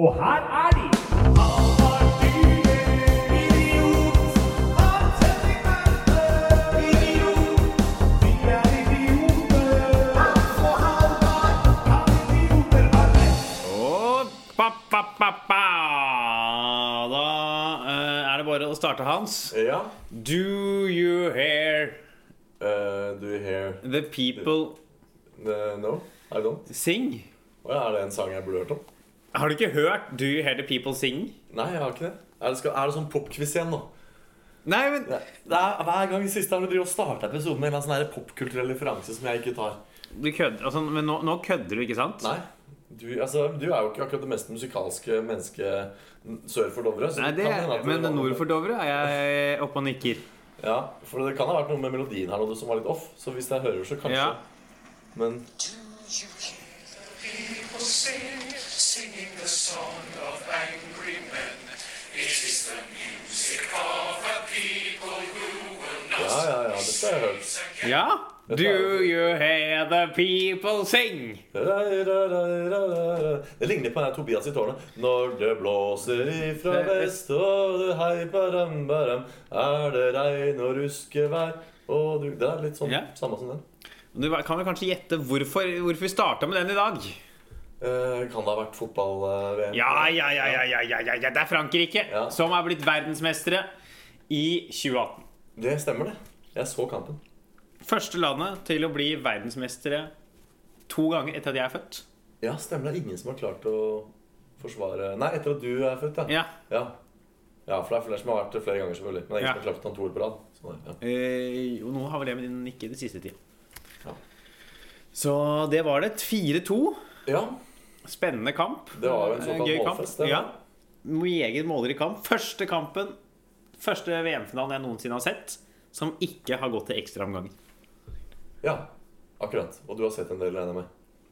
Og her er de! Han var dyre, idiot. Han setter verden, idiot. Vi er idioter. Altså, han var Han idioter har rett. Og pa, pa, pa, pa. Da eh, er det bare å starte, Hans. Ja. Do you hear Eh, do you hear the people the, No, I don't. sing? Å ja, er det en sang jeg burde hørt om? Har du ikke hørt Do you hear the people sing? Nei, jeg har ikke det. Er det, skal, er det sånn popquiz igjen nå? Nei, men Det er, hver gang i siste har du driver og starta episoden med en eller annen sånn her popkulturell referanse som jeg ikke tar. du kødder. Altså, men nå, nå kødder du, ikke sant? Nei. Du, altså, du er jo ikke akkurat det mest musikalske mennesket sør for Dovre. så Nei, det, kan hende at du- men nord for Dovre er jeg oppe og nikker. Ja, for det kan ha vært noe med melodien her nå som var litt off. Så hvis jeg hører, så kanskje. Ja. Men people sing, singing the song of angry men. It is the music of a people who will not ja, ja, ja, dette har jeg hørt. Ja? Do you hear the people sing? Det ligner på den her Tobias i tårnet. Når det blåser ifra vest og det hei baram baram, er det regn og ruskevær og du Det er litt sånn Ja. samme som den. Du kan vel kanskje gjette hvorfor, hvorfor vi starta med den i dag? Eh, kan det ha vært eh, fotball-VM? Ja, ja, ja, ja, ja, ja, ja, ja. Det er Frankrike Ja. som er blitt verdensmestere i 2018. Det stemmer, det. Jeg så kampen. Første landet til å bli verdensmestere to ganger etter at jeg er født. Ja, stemmer det. er Ingen som har klart å forsvare Nei, etter at du er født, Ja. Ja, ja for det er flere som har vært det flere ganger, selvfølgelig. Men det er ingen Ja. som har klart å ta to ord på rad. Sånn, ja. Eh, og nå har vel det med din nikke den siste tida. Ja. Så det var det. 4-2. ja, Spennende kamp. det var jo en Eh, såkalt Gøy kamp. målfest. det var- Ja. Meget målrik kamp. Første kampen, første VM-finalen jeg noensinne har sett, som ikke har gått til ekstraomganger. ja, akkurat. Og du har sett en del, regner jeg med.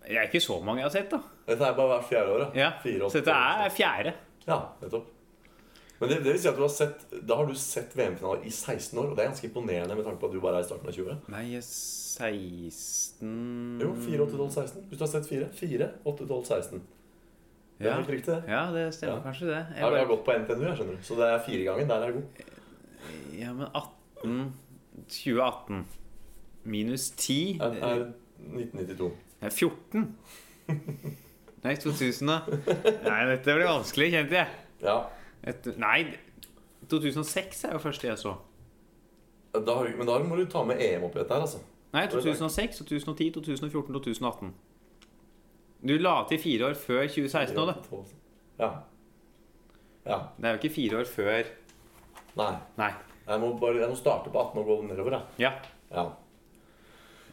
Det er ikke så mange jeg har sett, da. Dette er bare hvert fjerde året. Ja. Fire, så åtte dette år. er fjerde. Ja, nettopp. Men det, det vil si at du har sett, da har du sett VM-finaler i 16 år, og det er ganske imponerende med tanke på at du bare er i starten av 20. Nei, 16 Jo, 4, 8, 12, 16. Hvis du har sett 4, 4, 8, 12, 16. Det er Ja. helt riktig, det. Ja, det stemmer Ja. kanskje, det. Jeg har, jeg Jeg har gått på NTNU, jeg skjønner du. Så det er firegangen. Der er jeg god. bare, ja, men 18 2018 minus 10 Jeg er 1992. Nei, 14. Nei, 2000, da. Nei, dette blir vanskelig, kjente jeg. Ja. Et, nei, 2006 er jo første jeg så. Da har, men da må du ta med EM oppi dette her, altså. Nei, 2006, 2010, 2014, 2018. Du la til fire år før 2016 nå, da. 12. Ja. Ja. Det er jo ikke fire år før Nei. Nei. Jeg må, bare, jeg må starte på 18 og gå nedover, jeg. Ja. Ja.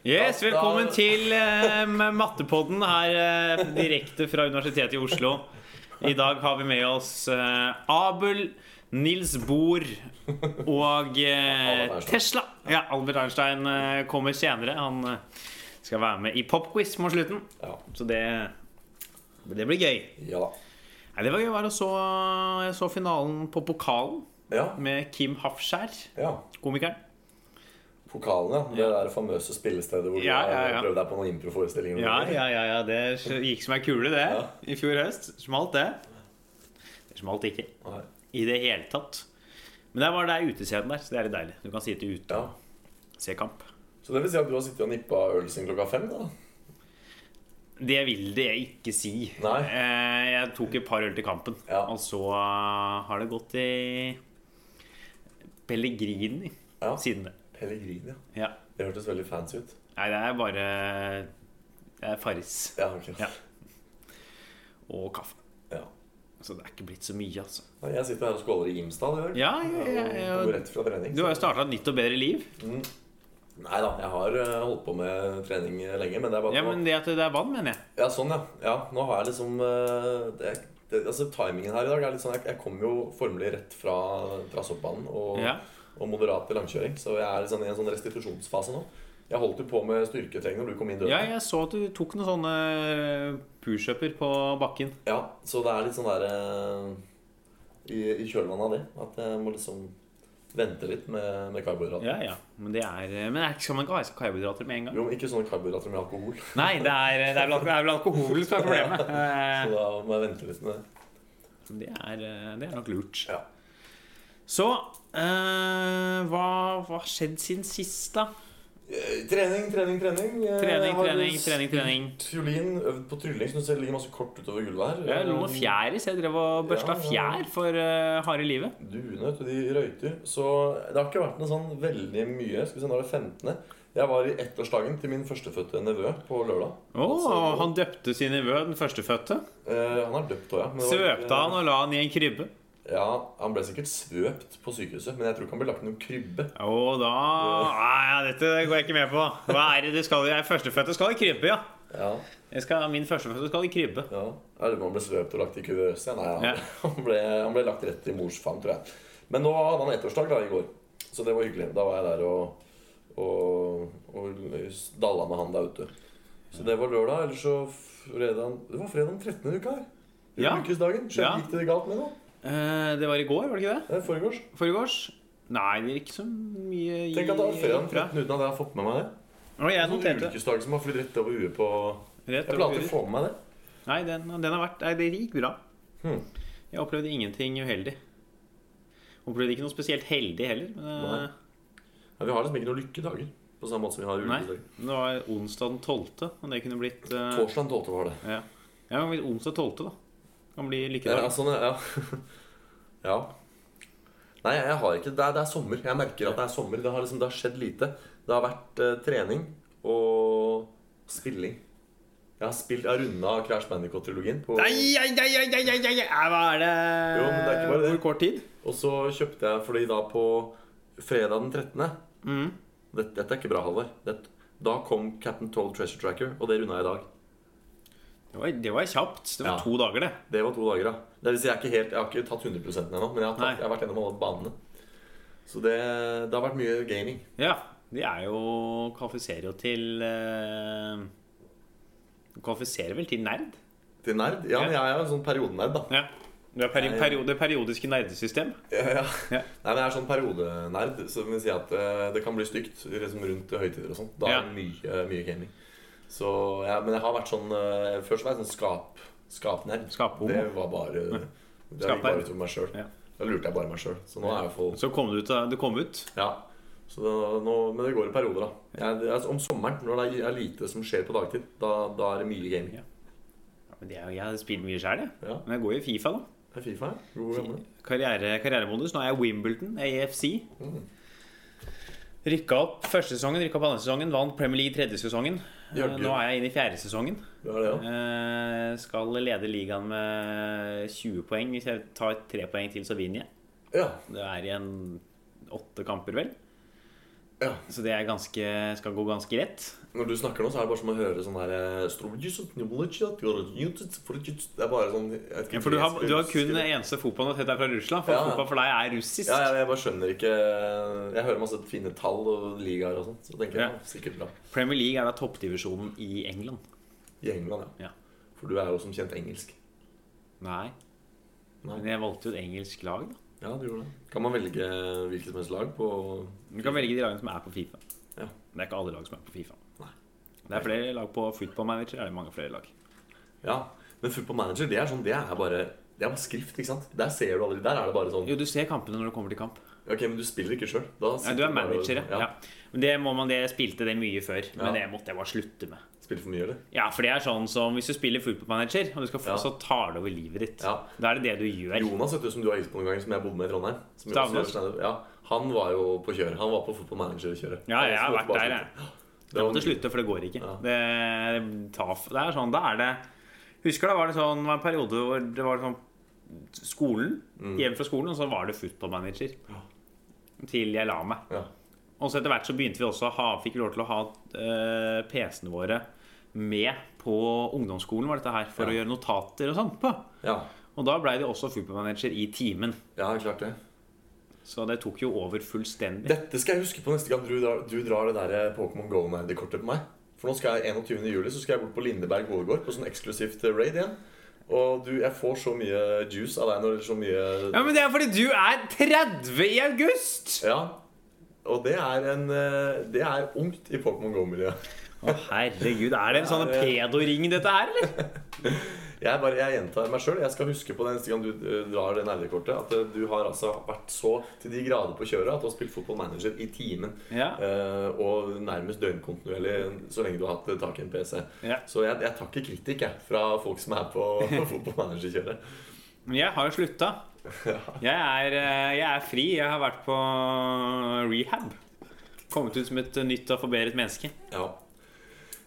Yes, Da- da- velkommen til eh, mattepodden her eh, direkte fra Universitetet i Oslo. I dag har vi med oss eh, Abel, Nils Bohr og eh, Albert Einstein. Tesla. Ja, Albert Einstein eh, kommer senere. Han eh, skal være med i popquiz mot slutten, Ja. så det, det blir gøy. Ja da. Nei, det var gøy å være og så, jeg så finalen på pokalen Ja. med Kim Hafskjær, ja. komikeren. Pokalen, ja. Det der famøse spillestedet hvor Ja, du har ja, ja. prøvd deg på noen improforestillinger. Ja, ja, ja, ja, det gikk som ei kule, det. Ja. I fjor høst. Smalt, det. Det smalt ikke Nei. i det hele tatt. Men det var det utescenen der, så det er litt deilig. Du kan sitte ute Ja. og se kamp. Så det vil si at du har sittet og nippa øl siden klokka fem? da? Det vil det jeg ikke si. Nei. Eh, Jeg tok et par øl til kampen, Ja. og så eh, har det gått i Pellegrini Ja. siden det. Pellegrini, ja. Ja. Det hørtes veldig fancy ut. Nei, det er bare Det er Farris Ja, ok. Ja. og kaffe. Ja. Så det er ikke blitt så mye, altså. Nei, Jeg sitter her og skåler i Imstad i dag. Ja, ja, ja, Og går ja. rett fra trening. Du har jo starta et nytt og bedre liv. Nei da, jeg har eh, holdt på med trening lenge, men det er bare Ja, men det at det er vann, mener jeg. Ja, sånn, ja. ja. Nå har jeg liksom eh, det, det, Altså, timingen her i dag er litt sånn Jeg, jeg kom jo formelig rett fra, fra soppbanen og, Ja. og moderat til langkjøring, så jeg er liksom i en sånn restitusjonsfase nå. Jeg holdt jo på med styrketrening når du kom inn døra. Ja, jeg så at du tok noen sånne pushuper på bakken. Ja, så det er litt sånn der eh, i, i kjølvannet av det, at jeg må liksom vente litt med, med karbohydrater. Ja, ja. Men det er, men det er ikke sånn man kan ha karbohydrater med en gang. Jo, men ikke sånne karbohydrater med alkohol. Nei, det er, det er, vel, det er vel alkoholen som er problemet. Så Eh, da må jeg vente litt med det. Det er, eh, det er nok lurt. Ja. Så eh, hva hva har skjedd siden sist, da? Eh, Trening, trening, trening. Eh, Trening, har trening, trening. trening Fiolin, øvd på trylling, så du ser det ligger masse kort utover gulvet her. Det lå noe fjær i, så jeg drev og børsta Ja, ja, ja. fjær for eh, harde livet. Duene, vet du, de røyter. Så det har ikke vært noe sånn veldig mye. Skal vi se, nå er det 15. Jeg var i ettårsdagen til min førstefødte nevø på lørdag. Å, han døpte sin nevø, den førstefødte. Eh, han er døpt òg, ja. men det var ikke- Svøpte han og la han i en krybbe. Ja, Han ble sikkert svøpt på sykehuset, men jeg tror ikke han ble lagt i noen krybbe. Og da Nei, ja, dette går jeg ikke med på. Hva er det du skal i? Jeg er Førstefødte skal i krybbe, ja. Ja, Jeg skal, min førstefødte skal i krybbe. ja. Jeg lurer på om han ble svøpt og lagt i kuvøse. Nei, han, Ja. han, ble, han ble lagt rett i mors favn, tror jeg. Men nå hadde han ettårsdag da, i går, så det var hyggelig. Da var jeg der og, og, og dalla med han der ute. Så det var lørdag. Eller så fredag Det var fredag den 13. i uka her. Ja. Ja. Ukesdagen. Skjedde Ja. gikk det galt med nå? Eh, det var i går, var det ikke det? Det er foregårs. Foregårs? Nei, det er ikke så mye i- Tenk at det var fredag den 13. uten at jeg har fått med meg det. Å, jeg Sånn noterte. ukesdag som har flydd rett over huet på Rett Jeg pleier alltid over. å få med meg det. Nei, den, den har vært Nei, det gikk bra. Hmm. Jeg opplevde ingenting uheldig. Opplevde ikke noe spesielt heldig heller. Men, eh, Nei. Ja, vi har liksom ikke noen lykkedager på samme måte som vi har Nei, ukedager. men det var onsdag den 12., og det kunne blitt eh, Torsdag den 12. var det. Ja, ja men onsdag 12., da. Kan bli Ja, lykkedag. sånn, ja. ja. Nei, jeg har ikke det er, det er sommer. Jeg merker at det er sommer. Det har, liksom, det har skjedd lite. Det har vært eh, trening og spilling. Jeg har spilt Jeg har runda Crash Bandicoot-trilogien. på- Nei, nei, nei, nei, nei, nei, nei, nei, Hva er det? Jo, men det er ikke bare det. Hvor kort tid? Og så kjøpte jeg fordi da på fredag den 13. Mhm. Dette, dette er ikke bra, Halvard. Dette- Da kom Captain Toll Treasure Tracker, og det runda jeg i dag. Det var, det var kjapt. Det var Ja. to dager, det. Det var to dager, da. Det vil si, jeg, er ikke helt, jeg har ikke tatt 100 ennå, men jeg har, Nei. tatt, jeg har vært gjennom alle banene. Så det, det har vært mye gaming. Ja. De er jo Kvalifiserer jo til eh, Kvalifiserer vel til nerd? Til nerd? Ja, men jeg er jo en sånn periodenerd, da. Ja. Det er peri Nei. periode, periodiske nerdesystem. Ja, ja. Ja. Nei, men jeg er sånn periodenerd, så det vil si at eh, det kan bli stygt liksom rundt høytider og sånn. Da Ja. er det mye, mye gaming. Så, ja, men jeg har vært sånn eh, Først var jeg sånn skap, skapnerd. Skaphomo. Det var bare Det gikk Skapnerd. bare utover meg sjøl. Ja. Da lurte jeg bare meg sjøl. Så nå er jeg i hvert fall Så kom det ut. da- Det kom ut. Ja. Så da, nå, men det går i perioder, da. Jeg, det, altså, om sommeren, når det er lite som skjer på dagtid, da, da er det mye gaming. Ja. Ja, men det er, jo- jeg spiller mye sjøl, jeg. Ja. Men jeg går jo i Fifa, da. Det er Fifa, ja. God gamle. Karriere, karrieremodus. Nå er jeg Wimbledon, AFC. Mm. Rykka opp første sesongen, rykka opp andre sesongen, vant Premier League tredje sesongen. Eh, Jørgen. Nå er jeg inne i fjerde sesongen. Du er det, ja. Eh, Skal lede ligaen med 20 poeng. Hvis jeg tar tre poeng til, så vinner jeg. ja. Det er igjen åtte kamper, vel. Ja. Så det er ganske, skal gå ganske rett. Når du snakker nå, så er det bare som å høre sånn her eh, «Strobljusut, njubljusut, jorojutut, forujutut». Det er bare sånn jeg vet ikke For du har, gresk- du har kun det eneste fotballnotet er fra Russland. For Ja, ja. fotball for deg er russisk. ja, jeg, jeg bare skjønner ikke Jeg hører masse fine tall og ligaer og sånt, så tenker jeg Ja. ja. sikkert bra. Premier League er da toppdivisjonen i England. I England, ja. Ja. For du er jo som kjent engelsk. Nei. Nei. Men jeg valgte jo et engelsk lag, da. Ja, du gjorde det. Kan man velge hvilket som helst lag på Du kan velge de lagene som er på Fifa. Ja. Det er ikke alle lag som er på Fifa. Nei. Det er flere lag på Football Manager. Er det mange flere lag. Ja, men football manager, det er sånn, det er bare Det er bare skrift, ikke sant? Der ser du aldri Der er det bare sånn Jo, du ser kampene når du kommer til kamp. Ok, men du spiller ikke sjøl. Ja, Nei, du er manager, sånn, ja. ja. Men det må man, det jeg spilte det mye før. Ja. Men det måtte jeg bare slutte med. Spiller for mye, eller? Ja, for det er sånn som hvis du spiller fotballmanager, og du skal få, Ja. så tar det over livet ditt. Ja. Da er det det du gjør. Jonas, vet du, som du har hilst på noen ganger, som jeg bodde med i Trondheim som jo Stavnes? også gjør stand-up. ja, Han var jo på kjøret. Han var på football manager-kjøret. Ja, jeg har Han måtte vært bare der, jeg. slutte. Det Jeg var måtte slutte, for det går ikke. Ja. Det, det, tar, det er sånn, da er det Husker da var det sånn, det var en periode hvor det var sånn skolen, Mm. hjem fra skolen, og så var det fotballmanager. Til jeg la meg. Ja. Og så etter hvert så begynte vi også å ha, fikk vi lov til å ha eh, PC-ene våre med på ungdomsskolen var dette her, for Ja. å gjøre notater og sånt på. ja. Og da blei det også fotballmanager i timen. ja, klart det. Så det tok jo over fullstendig. Dette skal jeg huske på neste gang du drar, du drar det der eh, Pokémon Go-nerdekortet på meg. For nå skal jeg 21. juli så skal jeg bort på Lindeberg hovedgård på sånn eksklusivt eh, raid igjen. Og du, jeg får så mye juice av deg når så mye Ja, men det er fordi du er 30 i august! Ja. Og det er en eh, Det er ungt i Pokémon GO-miljøet. Å, herregud, er det en sånn pedoring dette her, eller? Jeg, bare, jeg gjentar meg sjøl. Jeg skal huske på det neste gang du eh, drar det nerdekortet, at eh, du har altså vært så til de grader på kjøret at du har spilt Football Manager i timen. Ja. eh, og nærmest døgnkontinuerlig så lenge du har hatt eh, tak i en PC. Ja. Så jeg, jeg tar ikke kritikk jeg, fra folk som er på Football Manager-kjøret. Men jeg har jo slutta. Jeg, er, eh, jeg er fri. Jeg har vært på rehab. Kommet ut som et nytt og forbedret menneske. Ja.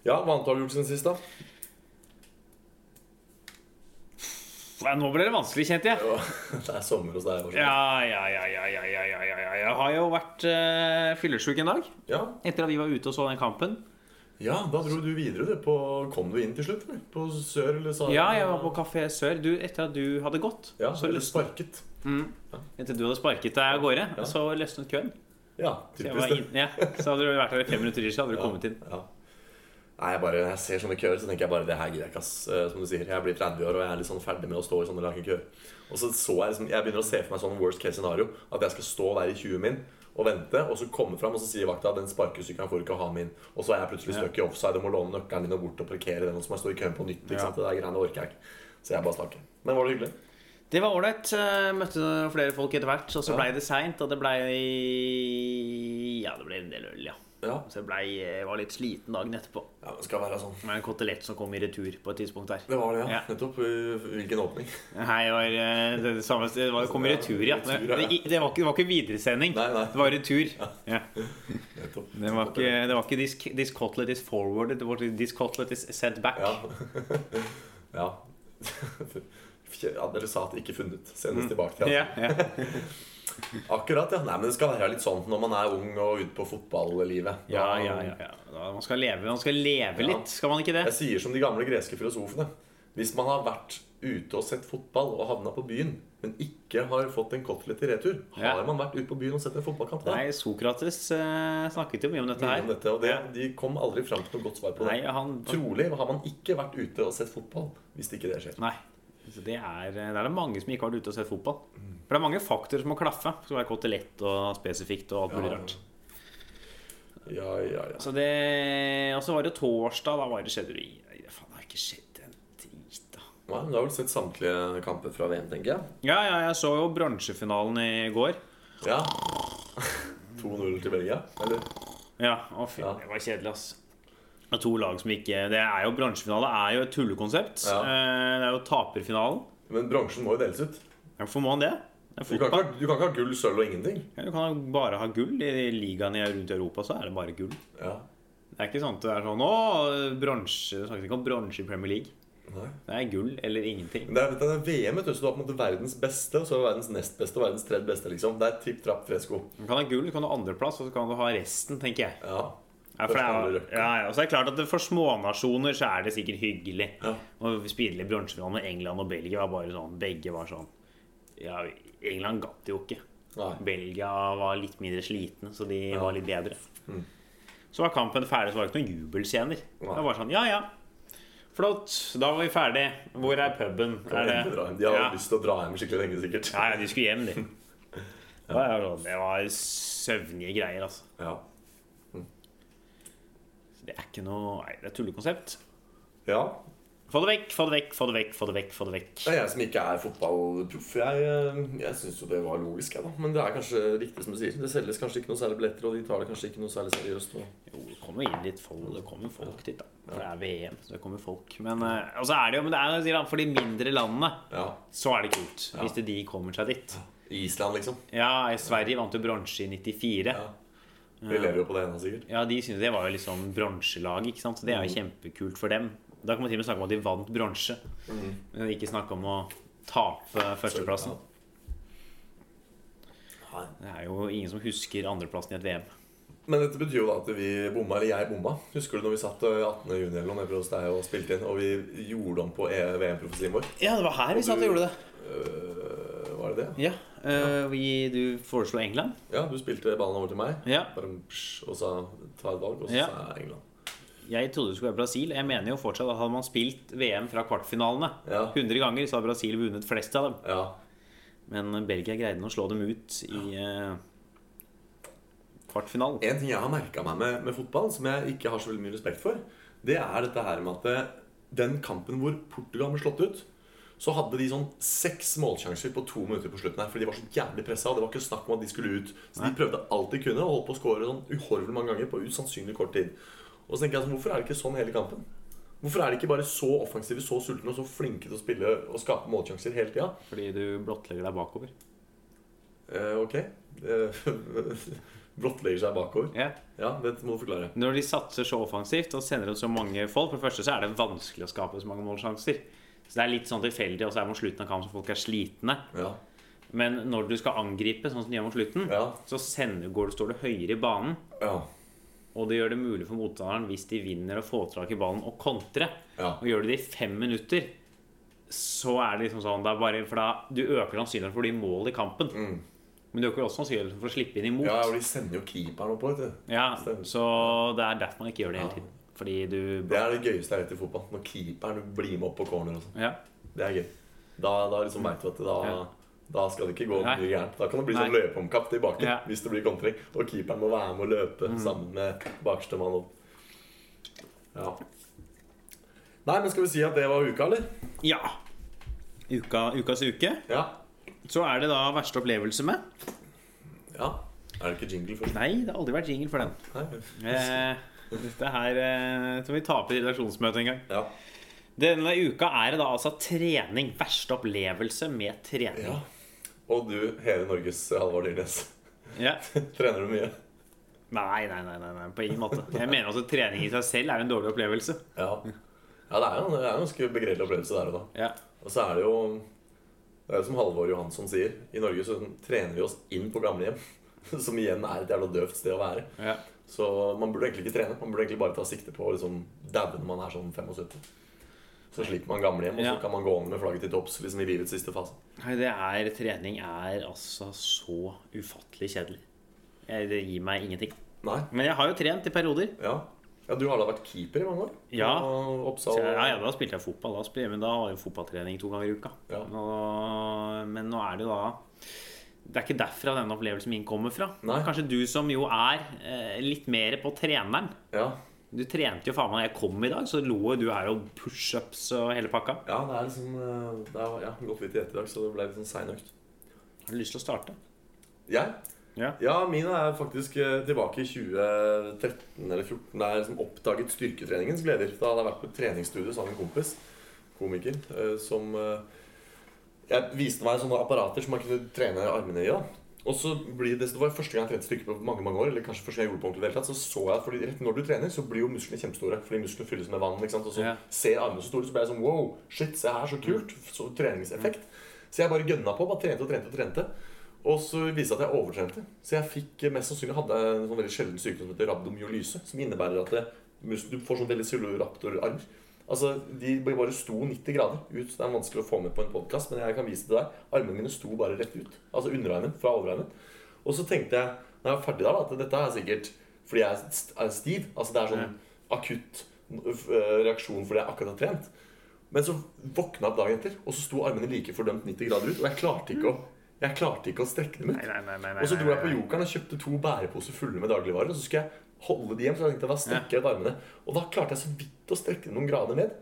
ja, hva annet har du gjort siden sist, da? Nei, Nå ble det vanskelig, kjente jeg. Det er sommer hos deg. Lars. Ja, ja, ja, ja, ja, ja, ja, ja, ja. Jeg har jo vært uh, fyllesyk en dag. Ja. Etter at vi var ute og så den kampen. ja, da dro du videre, du. På, kom du inn til slutt? Eller? På Sør eller Sahara? Ja, jeg var på Kafé Sør. Du, etter at du hadde gått, Ja, så eller løs, sparket. etter du hadde sparket deg av gårde, så løsnet køen. Ja, Så, jeg typisk var det. inn, ja. så hadde du vært her i fem minutter, så hadde du kommet inn. Ja. Nei, jeg bare, når jeg ser sånne køer, så tenker jeg bare det her gidder jeg ikke, ass. Eh, Som du sier, jeg blir 30 år og jeg er litt sånn ferdig med å stå i sånne lange køer. Og så så jeg liksom, jeg begynner å se for meg sånn worst case scenario. At jeg skal stå der i 20 min og vente, og så komme fram, og så sier vakta den sparkesykkelen får du ikke ha min. Og så er jeg plutselig stuck i offside og må låne nøkkelen din og bort og parkere den, og så må jeg stå i køen på nytt. ikke Ja. sant? Det der greiene orker jeg ikke. Så jeg bare stakk. Men var det hyggelig? Det var ålreit. eh, Møtte flere folk etter hvert. Og så blei det seint, og det blei Ja, det blei en del øl, ja. Ja. Så jeg, ble, jeg var litt sliten dagen etterpå. ja det skal være sånn. Det var en kotelett som kom i retur på et tidspunkt der. Det var det, Ja. ja. Nettopp. eh, Hvilken åpning. Nei, det var eh, det det samme Det var, kom i retur, ja. Det, det, det, var, ikke, det var ikke videresending. Nei, nei. Det var retur. Ja. Nettopp. Det var ikke, det var ikke this, this cotlet is forwarded, det var this cotlet is sent back. Ja. ja. Fje- ja. Dere sa at ikke funnet. Sendes tilbake til. Mm. Ja, ja. Akkurat, ja. Nei, men det skal være litt sånn når man er ung og ute på fotballivet. Da- ja, ja, ja, ja. Da, man skal leve, man skal leve Ja. litt, skal man ikke det? um, Jeg sier som de gamle greske filosofene. Hvis man har vært ute og sett fotball og havna på byen, men ikke har fått en kotelett i retur, Ja. har man vært ute på byen og sett en fotballkamp da? Nei, Sokrates eh, snakket jo mye om dette Mye her. om Dette, og det, Ja. de kom aldri fram til noe godt svar på det. Nei, han- Trolig har man ikke vært ute og sett fotball hvis ikke det skjer. Nei. Så det, er, det er det mange som ikke har vært ute og sett fotball. Mm. For det er mange faktorer som må klaffe. Det skal være kotelett og spesifikt og alt mulig Ja. rart. Ja, ja, ja. Så det, og så var det torsdag. Da var det skjedde det Nei, faen, det har ikke skjedd en drit, da. Nei, men Du har vel sett samtlige kamper fra VM, tenker jeg. Ja, ja, jeg så jo bransjefinalen i går. Ja. 2-0 til Belgia, eller? Ja, å fy, Ja. det var kjedelig, ass. Det er to lag som ikke Det er jo bransjefinale. er jo et tullekonsept. Ja. Eh, Det er jo taperfinalen. Men bransjen må jo deles ut. Hvorfor må han det? Det er Du kan, ikke, fotball. ha- du kan ikke ha gull, sølv og ingenting. Ja, Du kan jo bare ha gull. I ligaen i- rundt i Europa så er det bare gull. Ja. Det er ikke sånn at det er sånn Å, bransje Du snakker ikke om bransje i Premier League. Nei. Det er gull eller ingenting. Men det er, det er VM, vet du, så du har på en måte verdens beste, og så er det verdens nest beste og verdens tredje beste. liksom. Det er tipp trapp tre sko. Du kan ha gull, du kan ha andreplass, og så kan du ha resten, tenker jeg. Ja. Ja, for det Først er, andre røkka. ja, ja, og så er det klart at det For smånasjoner så er det sikkert hyggelig. Ja. Og spille i bransjefinalen med England og Belgia var bare sånn Begge var sånn Ja, England gatt jo ikke. Nei. Belgia var litt mindre slitne, så de var litt bedre. Mm. Så var kampen ferdig, så var det ikke noen jubelscener. Det var bare sånn Ja, ja. Flott. Da var vi ferdig. Hvor er puben? De Er det har ja. lyst til å dra hjem skikkelig lenge, sikkert. ja, ja, de skulle hjem, de. Det var, sånn, det var søvnige greier, altså. Ja. Så Det er ikke noe Nei, det er et tullekonsept. ja. Få det vekk, få det vekk, få det vekk, få det vekk. få det vekk Det er jeg som ikke er fotballproff. Jeg, eh, jeg syns jo det var logisk, jeg, da. Men det er kanskje riktig som du sier. Det selges kanskje ikke noe særlig billetter, og de tar det kanskje ikke noe særlig seriøst. Og... Jo, det kommer inn litt folk, det kommer folk dit, da. For det er VM, så det kommer folk. Men eh, og så er det jo, men det er, jo, sier han, for de mindre landene Ja. så er det kult. Hvis det de kommer seg dit. Island, liksom. Ja, Sverige vant jo bronse i 94. Ja. Vi lever jo på det ennå, sikkert. Ja, de syntes det var jo liksom bronselag, ikke sant. Så det er jo kjempekult for dem. Da kan man til og med snakke om at de vant bronse. Men ikke snakke om å tape førsteplassen. Nei. Det er jo ingen som husker andreplassen i et VM. Men dette betyr jo da at vi bomma, eller jeg bomma. Husker du når vi satt eh, 18. juni eller noe nede hos deg og spilte inn, og vi gjorde om på E- VM-profesien vår? Ja, det var her vi satt og gjorde det. Øh, var det det? Ja, eh, vi, Du foreslo England. Ja, du spilte ballen over til meg. Ja. Bare psh, og sa ta et valg, og så Ja. sa jeg England. Jeg trodde det skulle være Brasil. Jeg mener jo fortsatt at Hadde man spilt VM fra kvartfinalene Ja. 100 ganger, så hadde Brasil vunnet flest av dem. Ja. Men Belgia greide å slå dem ut i eh, kvartfinalen. En ting jeg har merka meg med, med fotball, som jeg ikke har så veldig mye respekt for, det er dette her med at eh, den kampen hvor Portugal ble slått ut, så hadde de sånn seks målsjanser på to minutter på slutten her. Fordi de var så jævlig pressa, og det var ikke snakk om at de skulle ut. Så de prøvde alt de kunne, og holdt på å skåre sånn uhorvelig mange ganger på usannsynlig kort tid. Og så tenker jeg sånn, hvorfor er det ikke sånn hele kampen? Hvorfor er de ikke bare så offensive, så sultne og så flinke til å spille og skape målsjanser hele tida? Fordi du blottlegger deg bakover. Eh, ok. Eh, Blottlegger seg bakover. Ja. Ja, det må du forklare. Når de satser så offensivt og sender ut så mange folk For det første så er det vanskelig å skape så mange målsjanser. Så det er litt sånn tilfeldig, og så er det mot slutten av kampen så folk er slitne. Ja. Men når du skal angripe, sånn som de gjør mot slutten, Ja. så sender, går du, står du høyere i banen. Ja. Og det gjør det mulig for motstanderen, hvis de vinner, å få tak i ballen og kontre. Ja. Og gjør du det i fem minutter, så er det liksom sånn det er bare, For da du øker sannsynligheten for å bli mål i kampen. Men du øker også sannsynligheten for å slippe inn imot. Mm. ja, Ja, og de sender jo keeperen opp, vet du. Stemmer. Så det er derfor man ikke gjør det hele Ja. tiden. Fordi du Det er det gøyeste jeg vet i fotball. Når keeperen blir med opp på corner. og sånn. ja. Det er gøy. Da, da liksom vet du at da, Ja. da skal det ikke gå Nei. mye gærent. Da kan det bli sånn Nei. løpeomkamp tilbake Ja. Mm. hvis det blir kontring. Og keeperen må være med å løpe sammen med bakerste mann opp. Ja. Nei, men skal vi si at det var uka, eller? ja. Uka, ukas uke. Ja. Så er det da verste opplevelse med. ja. Er det ikke jingle først? Nei, det har aldri vært jingle for den. Nei. Eh, dette her eh, tror vi taper i redaksjonsmøtet en gang. Ja. Denne uka er det da altså trening. Verste opplevelse med trening. ja. Og du, hele Norges Halvard Dyrnes. Ja. Trener du mye? Nei, nei, nei, nei, nei, på ingen måte. Jeg mener også at trening i seg selv er en dårlig opplevelse. Ja. Ja, det er jo det er jo en ganske begredelig opplevelse der og da. Ja. Og så er det jo Det er jo som Halvor Johansson sier. I Norge så trener vi oss inn på gamlehjem. Som igjen er et jævla døvt sted å være. Ja. Så man burde egentlig ikke trene. Man burde egentlig bare ta sikte på å liksom daue når man er sånn 75. Så slipper man gamlehjem, og så Ja. kan man gå an med flagget til topps liksom i livets siste fase. Nei, det er Trening er altså så ufattelig kjedelig. Jeg, det gir meg ingenting. Nei. Men jeg har jo trent i perioder. Ja. ja du har da vært keeper i mange år? Ja. Og Så Oppsal jeg, ja, ja, da spilte jeg fotball, da, spil- men da har jeg jo fotballtrening to ganger i uka. Ja. Nå- men nå er det jo da Det er ikke derfra denne opplevelsen min kommer fra. Nei. Kanskje du som jo er eh, litt mer på treneren. ja. Du trente jo faen meg da jeg kom i dag, så lå jo du her og pushups og hele pakka. ja, det er liksom eh, Det har ja, gått litt i ett i dag, så det ble litt sånn sein økt. Har du lyst til å starte? Jeg? Ja. Ja, mine er faktisk eh, tilbake i 2013 eller 2014. Da jeg liksom oppdaget styrketreningens gleder. Da hadde jeg vært på et treningsstudio sammen med en kompis, komiker, eh, som eh, jeg viste meg sånne apparater som man kunne trene armene i. da. Og så blir det, det var første gang jeg trente styrke på mange mange år, eller kanskje første gang jeg gjorde det på ordentlig i det hele tatt, så så jeg at fordi rett når du trener, så blir jo musklene kjempestore. Fordi musklene fylles med vann. ikke sant? Og så Ja. ser armene så store, så ble jeg sånn wow, shit, se her, så kult. Så treningseffekt. Mm. Så jeg bare gønna på. Bare trente og trente og trente. Og så viste det seg at jeg overtrente. Så jeg fikk eh, mest sannsynlig hadde jeg en sånn veldig sjelden sykdom som heter rabdomyolyse, som innebærer at det, mus- du får sånn veldig velociraptor-armer. Altså, De bare- bare sto 90 grader ut. Det er vanskelig å få med på en podkast, men jeg kan vise det deg. Armene mine sto bare rett ut. Altså underarmen fra overarmen. Og så tenkte jeg når jeg var ferdig der, da, at dette er sikkert fordi jeg er st- er stiv. Altså det er sånn akutt eh, reaksjon fordi jeg akkurat har trent. Men så våkna jeg opp dagen etter, og så sto armene like fordømt 90 grader ut. Og jeg klarte ikke å, jeg klarte ikke å strekke dem ut. Nei, nei, nei, nei, nei, og så dro jeg på nei, nei. Jokeren og kjøpte to bæreposer fulle med dagligvarer. Og så skulle jeg holde de hjem, så jeg tenkte da strekker jeg ut armene. Og da klarte jeg så vidt å strekke dem noen grader ned.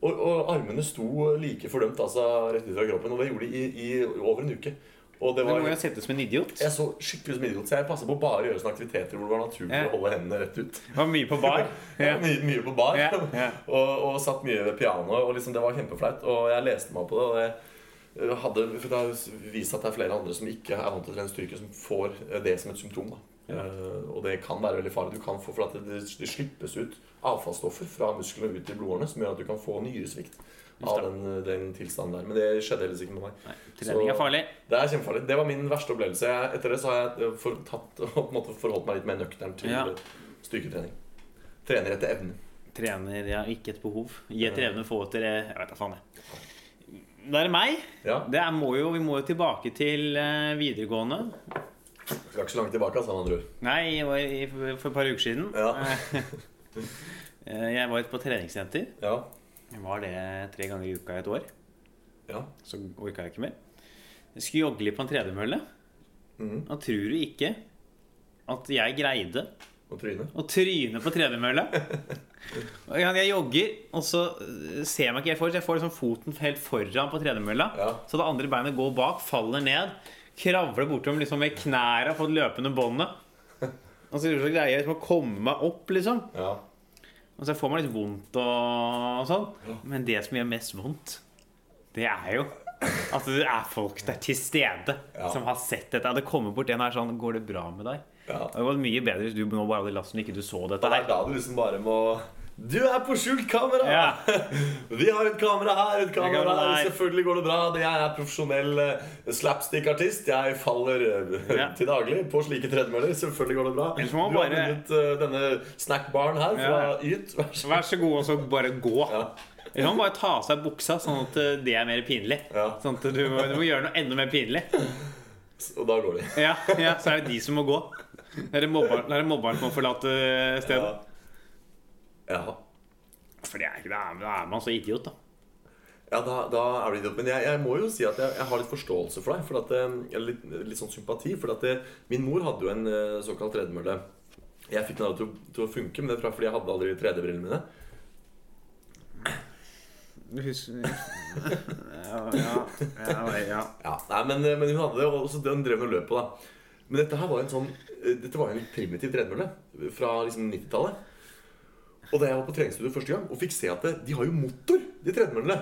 Og, og armene sto like fordømt altså, rett ut fra kroppen. Og det gjorde de i, i over en uke. Og det Du var må jo sette ut som en idiot. jeg så skikkelig ut som en idiot, så jeg passa på å bare gjøre sånne aktiviteter hvor det var naturlig Ja. å holde hendene rett ut. Det var mye på bar. Ja. Mye, mye på bar. Ja, ja. Og, og satt mye ved pianoet. Og liksom, det var kjempeflaut. Og jeg leste meg opp på det. Og jeg eh, hadde, for det har jo vist at det er flere andre som ikke er vant til å trene styrke, som får eh, det som et symptom. Da. Eh, og det kan være veldig farlig. Du kan få, for at det, det slippes ut avfallsstoffer fra musklene ut i blodårene som gjør at du kan få nyresvikt av den, den tilstanden der. Men det skjedde heldigvis ikke med meg. Trening Så- er farlig. Det er kjempefarlig. Det var min verste opplevelse. Jeg, etter det så har jeg eh, for, tatt, og på en måte forholdt meg litt mer nøkternt til Ja. eh, styrketrening. Trener etter evne. Trener ja, ikke et behov. Gi etter evne, få etter Jeg vet da faen, jeg. Det er meg. Ja, Det er, må jo, vi må jo tilbake til eh, videregående. Skal ikke så langt tilbake, sa han andre ord. Nei, jeg var i, for for et par uker siden. Ja. Eh, Jeg var på treningssenter. Ja. Jeg var det tre ganger i uka i et år. ja. Så orka jeg ikke mer. Jeg skulle jogle på en tredemølle. Mhm. Og tror du ikke at jeg greide Og trynet. å tryne på tredemølla? Og en gang Jeg jogger, og så øh, ser jeg meg ikke helt for, så jeg får liksom foten helt foran på tredemølla. Ja. Så det andre beinet går bak, faller ned, kravler bortom liksom med knærne på det løpende båndet. Og så greier jeg liksom å komme meg opp, liksom. Ja. Og så får man litt vondt og sånn. Men det som gjør mest vondt, det er jo at det er folk der til stede Ja. som har sett dette. Det kommer bort en her sånn Går det bra med deg? Ja. Det hadde gått mye bedre hvis du nå bare hadde latt som ikke du så dette Det er her. da du liksom bare må Du er på skjult kamera! Ja. Vi har et kamera her, et kamera kamera der. der. Selvfølgelig går det bra. Jeg er profesjonell eh, slapstick-artist. Jeg faller eh, Ja. til daglig på slike tredemøller. Selvfølgelig går det bra. Ellers Du må har man bare- vunnet eh, denne snackbaren her Ja. fra Yt. Vær så Vær så god, og så bare gå. Ja. Eller man bare ta av seg buksa, sånn at eh, det er mer pinlig. Ja. Sånn at du må, du må gjøre noe enda mer pinlig. Og da går de. Ja, ja, så er det de som må gå. Det er det mobberen det er det mobberen som må forlate eh, stedet. Ja. ja. For det er, da er- da er man så idiot, da. Ja, da, da er det idiot. Men jeg, jeg må jo si at jeg, jeg har litt forståelse for deg. For at, eh, eller litt, litt sånn sympati. For at eh, min mor hadde jo en eh, såkalt tredemølle. Jeg fikk den aldri til, å- til å funke, men det er fra- fordi jeg hadde aldri 3D-brillene mine. Husk Ja, ja, ja, ja. Ja, nei, men, eh, men hun hadde det, og så den drev hun og løp på, da. Men dette her var en sånn eh, Dette var en litt primitiv tredemølle fra liksom 90-tallet. Og da jeg var på treningsstudio første gang og fikk se at det, de har jo motor, de tredemøllene.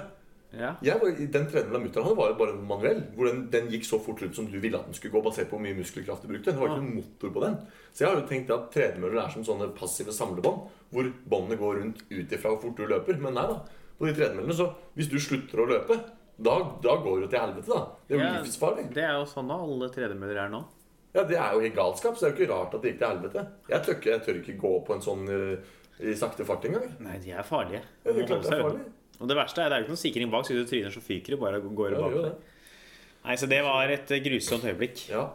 ja. Jeg var, den tredemølla mutter'n hadde, var jo bare en manuell. Hvor den, den gikk så fort rundt som du ville at den skulle gå, basert på hvor mye muskelkraft du brukte. Det var ikke noen motor på den. Så jeg har jo tenkt at tredemøller er som sånne passive samlebånd, hvor båndene går rundt ut ifra hvor fort du løper. Men nei da. På de tredemøllene, så hvis du slutter å løpe, da, da går det til helvete, da. Det er jo Ja, livsfarlig. Det er jo sånn da alle tredemøller er nå. Ja, det er jo helt galskap, så det er jo ikke rart at det gikk til helvete. Jeg tør ikke, jeg tør ikke gå på en sånn eh, i sakte fart engang. Nei, de er farlige. Ja, det er Må holde klart det er seg farlig. unna. Og det verste er det er jo ikke noen sikring bak, så hvis du tryner, så fyker det bare og går Ja, det bak. gjør det. Nei, så det var et eh, grusomt øyeblikk. Ja.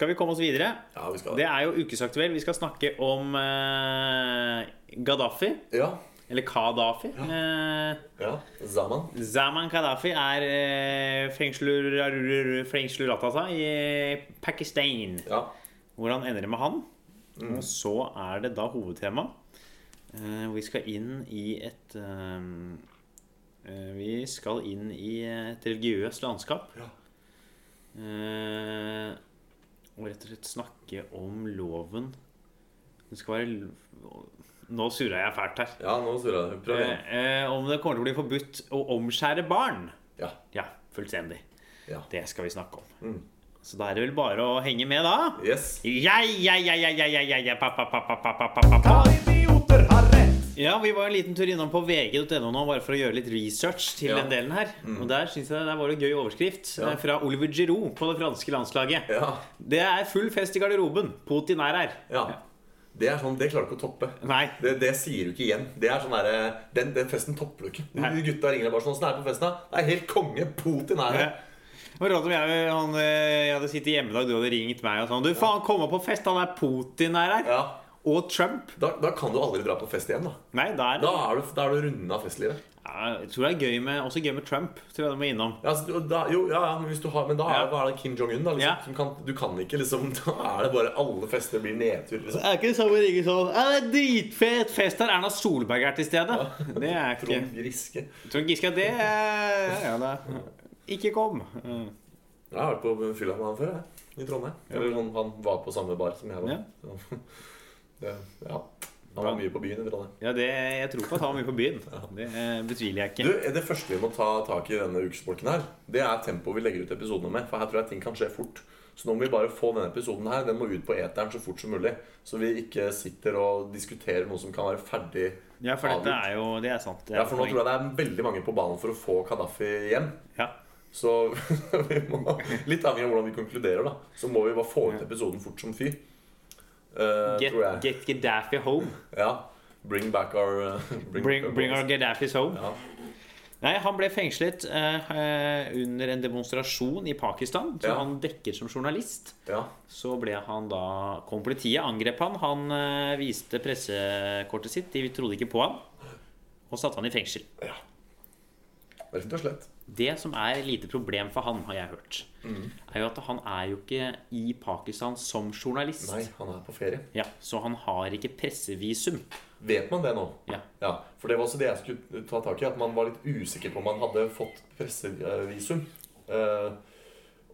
Skal vi komme oss videre? ja, vi skal Det er jo ukesaktuell. Vi skal snakke om eh, Gaddafi. Ja. Eller Kadafi. Eh, ja. Zaman. Zaman Kadafi er eh, fengsler- fengsler Atasa i Pakistan. Ja. Hvordan ender det med han? Mm. Og så er det da hovedtema. Eh, vi skal inn i et eh, eh, Vi skal inn i et religiøst landskap. Ja. Eh, og rett og slett snakke om loven Det skal være lo- Nå surra jeg fælt her. Ja, nå surrer jeg. Prøv igjen. Eh, eh, om det kommer til å bli forbudt å omskjære barn. Ja. Ja, fullstendig. Ja. Det skal vi snakke om. Mm. Så da er det vel bare å henge med, da. Yes. Ja, ja, ja, ja, ja, ja, ja, ja, pa, pa, pa, pa, pa, pa, pa, pa, pa. idioter har rett. Ja, vi var en liten tur innom på vg.no nå, bare for å gjøre litt research til Ja. den delen her. Og der synes jeg der var det en gøy overskrift Ja. eh, fra Oliver Giroud på det franske landslaget. Ja. Det er full fest i garderoben. Putin er her. ja. Det er sånn, det klarer du ikke å toppe. Nei. Det, det sier du ikke igjen. Det er sånn der, den, den festen topper du ikke. Nei. De gutta ringer deg bare sånn Åssen er det på festen? da?» Det er helt konge. Putin er her. Eh, Det var rart om jeg, han, eh, jeg hadde sittet hjemme i dag, du hadde ringt meg og sånn Du, faen, kom opp på fest, han er Putin er her. Ja. Og Trump. Da, da kan du aldri dra på fest igjen, da. Nei, da er det Da er du, da er du runda festlivet. ja, Jeg tror det er gøy med, også gøy med Trump. Tror jeg du må innom. Ja, altså, du- da, jo, ja, ja, men, hvis du har, men da er, Ja. hva er det Kim Jong-un, da. Liksom, Ja. som kan, du kan ikke liksom Da er det bare alle fester blir nedtur. Liksom. Det er ikke det samme å ringe sånn Ja, det er dritfett fest her. Erna Solberg er til stede. Det er ikke Trond Griske. Trond Giske, det er ja, det er. Ikke kom. Mm. Jeg har vært på fylla med han før, jeg. I Trondheim. Eller sånn, han var på samme bar som jeg var. Ja. Så, det, ja. Han var mye på byen i Trondheim. Ja, det, jeg tror på at han var mye på byen. Det eh, betviler jeg Du, ikke. Det første vi må ta tak i denne ukesbolken her, det er tempoet vi legger ut episodene med. For her tror jeg ting kan skje fort. Så nå må vi bare få denne episoden her, den må ut på eteren så fort som mulig. Så vi ikke sitter og diskuterer noe som kan være ferdig. Ja, for dette er jo Det er sant. Det er Ja, for nå poeng. tror jeg det er veldig mange på banen for å få Kadafi hjem. ja. Så vi må, litt avhengig av hvordan vi konkluderer, da, så må vi bare få ut episoden fort som fy. Eh, Get, tror jeg. get Gaddafi home. Ja. Bring back our uh, Bring, Bring, back bring our balls. Gaddafis home. Ja. Nei, han ble fengslet eh, eh, under en demonstrasjon i Pakistan, som Ja. han dekket som journalist. ja. Så ble han da Kom politiet, angrep han. Han eh, viste pressekortet sitt. De trodde ikke på han. Og satte han i fengsel. Rett og slett. Det som er et lite problem for han, har jeg hørt, Mm. er jo at han er jo ikke i Pakistan som journalist. Nei, han er på ferie. Ja, så han har ikke pressevisum. Vet man det nå? Ja. For det var også det jeg skulle ta tak i, at man var litt usikker på om man hadde fått pressevisum. Eh,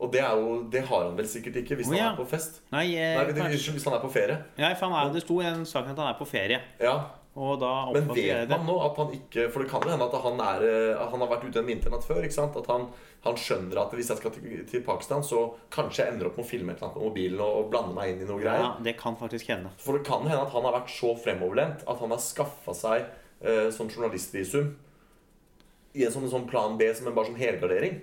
og det, er jo, det har han vel sikkert ikke hvis Å, ja. han er på fest. Nei, eh, Nei, det, kanskje. unnskyld, hvis han er på ferie. Nei, for han er, det sto i den saken at han er på ferie. Ja, Og da Men oppfatter jeg vet det. man nå at han ikke For det kan jo hende at han, er, eh, han har vært ute en vinternatt før. ikke sant? At han, han skjønner at hvis jeg skal til, til Pakistan, så kanskje jeg ender opp med å filme et eller annet på mobilen og, og blande meg inn i noe greier. Ja, det kan faktisk hende. For det kan hende at han har vært så fremoverlent at han har skaffa seg eh, sånn journalistvisum i en sånn, sånn plan B som en bare sånn helgardering.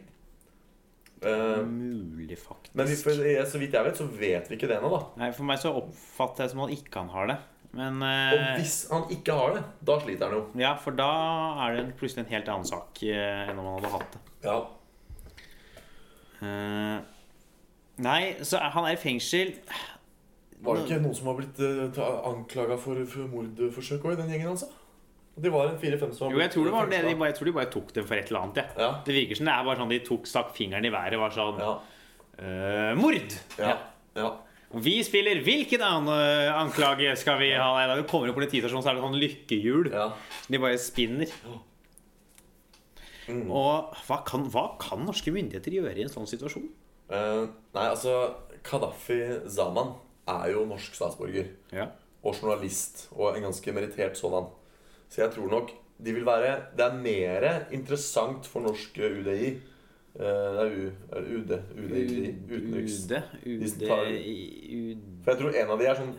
Eh, Mulig, faktisk. men vi, for, eh, så vidt jeg vet, så vet vi ikke det ennå, da. Nei, For meg så oppfatter jeg som at ikke han har det. Men Og eh, hvis han ikke har det, da sliter han jo. Ja, for da er det plutselig en helt annen sak eh, enn om han hadde hatt det. Ja. Eh, nei, så er, han er i fengsel. Var det ikke noen som har blitt uh, anklaga for, for mordforsøk òg i den gjengen, altså? De var en fire-fem som Jo, jeg tror, det var det, de bare, jeg tror de bare tok dem for et eller annet. Ja. Ja. Det virker som det er bare sånn de tok stakk fingeren i været og var sånn Ja. «Øh, Mord! Ja. ja. Vi spiller hvilken annen øh, anklage skal vi ha? Nei, da vi kommer opp på politistasjonen, så er det sånn lykkehjul. ja. De bare spinner. Mm. Og hva kan, hva kan norske myndigheter gjøre i en sånn situasjon? Eh, nei, altså Kadafi Zaman er jo norsk statsborger. Ja. og journalist, og en ganske merittert sådan. Så jeg tror nok de vil være Det er mer interessant for norsk UDI eh, Det er U, er det UD, UDI utenriks. UD, De UD, som tar- UD For jeg tror en av de er sånn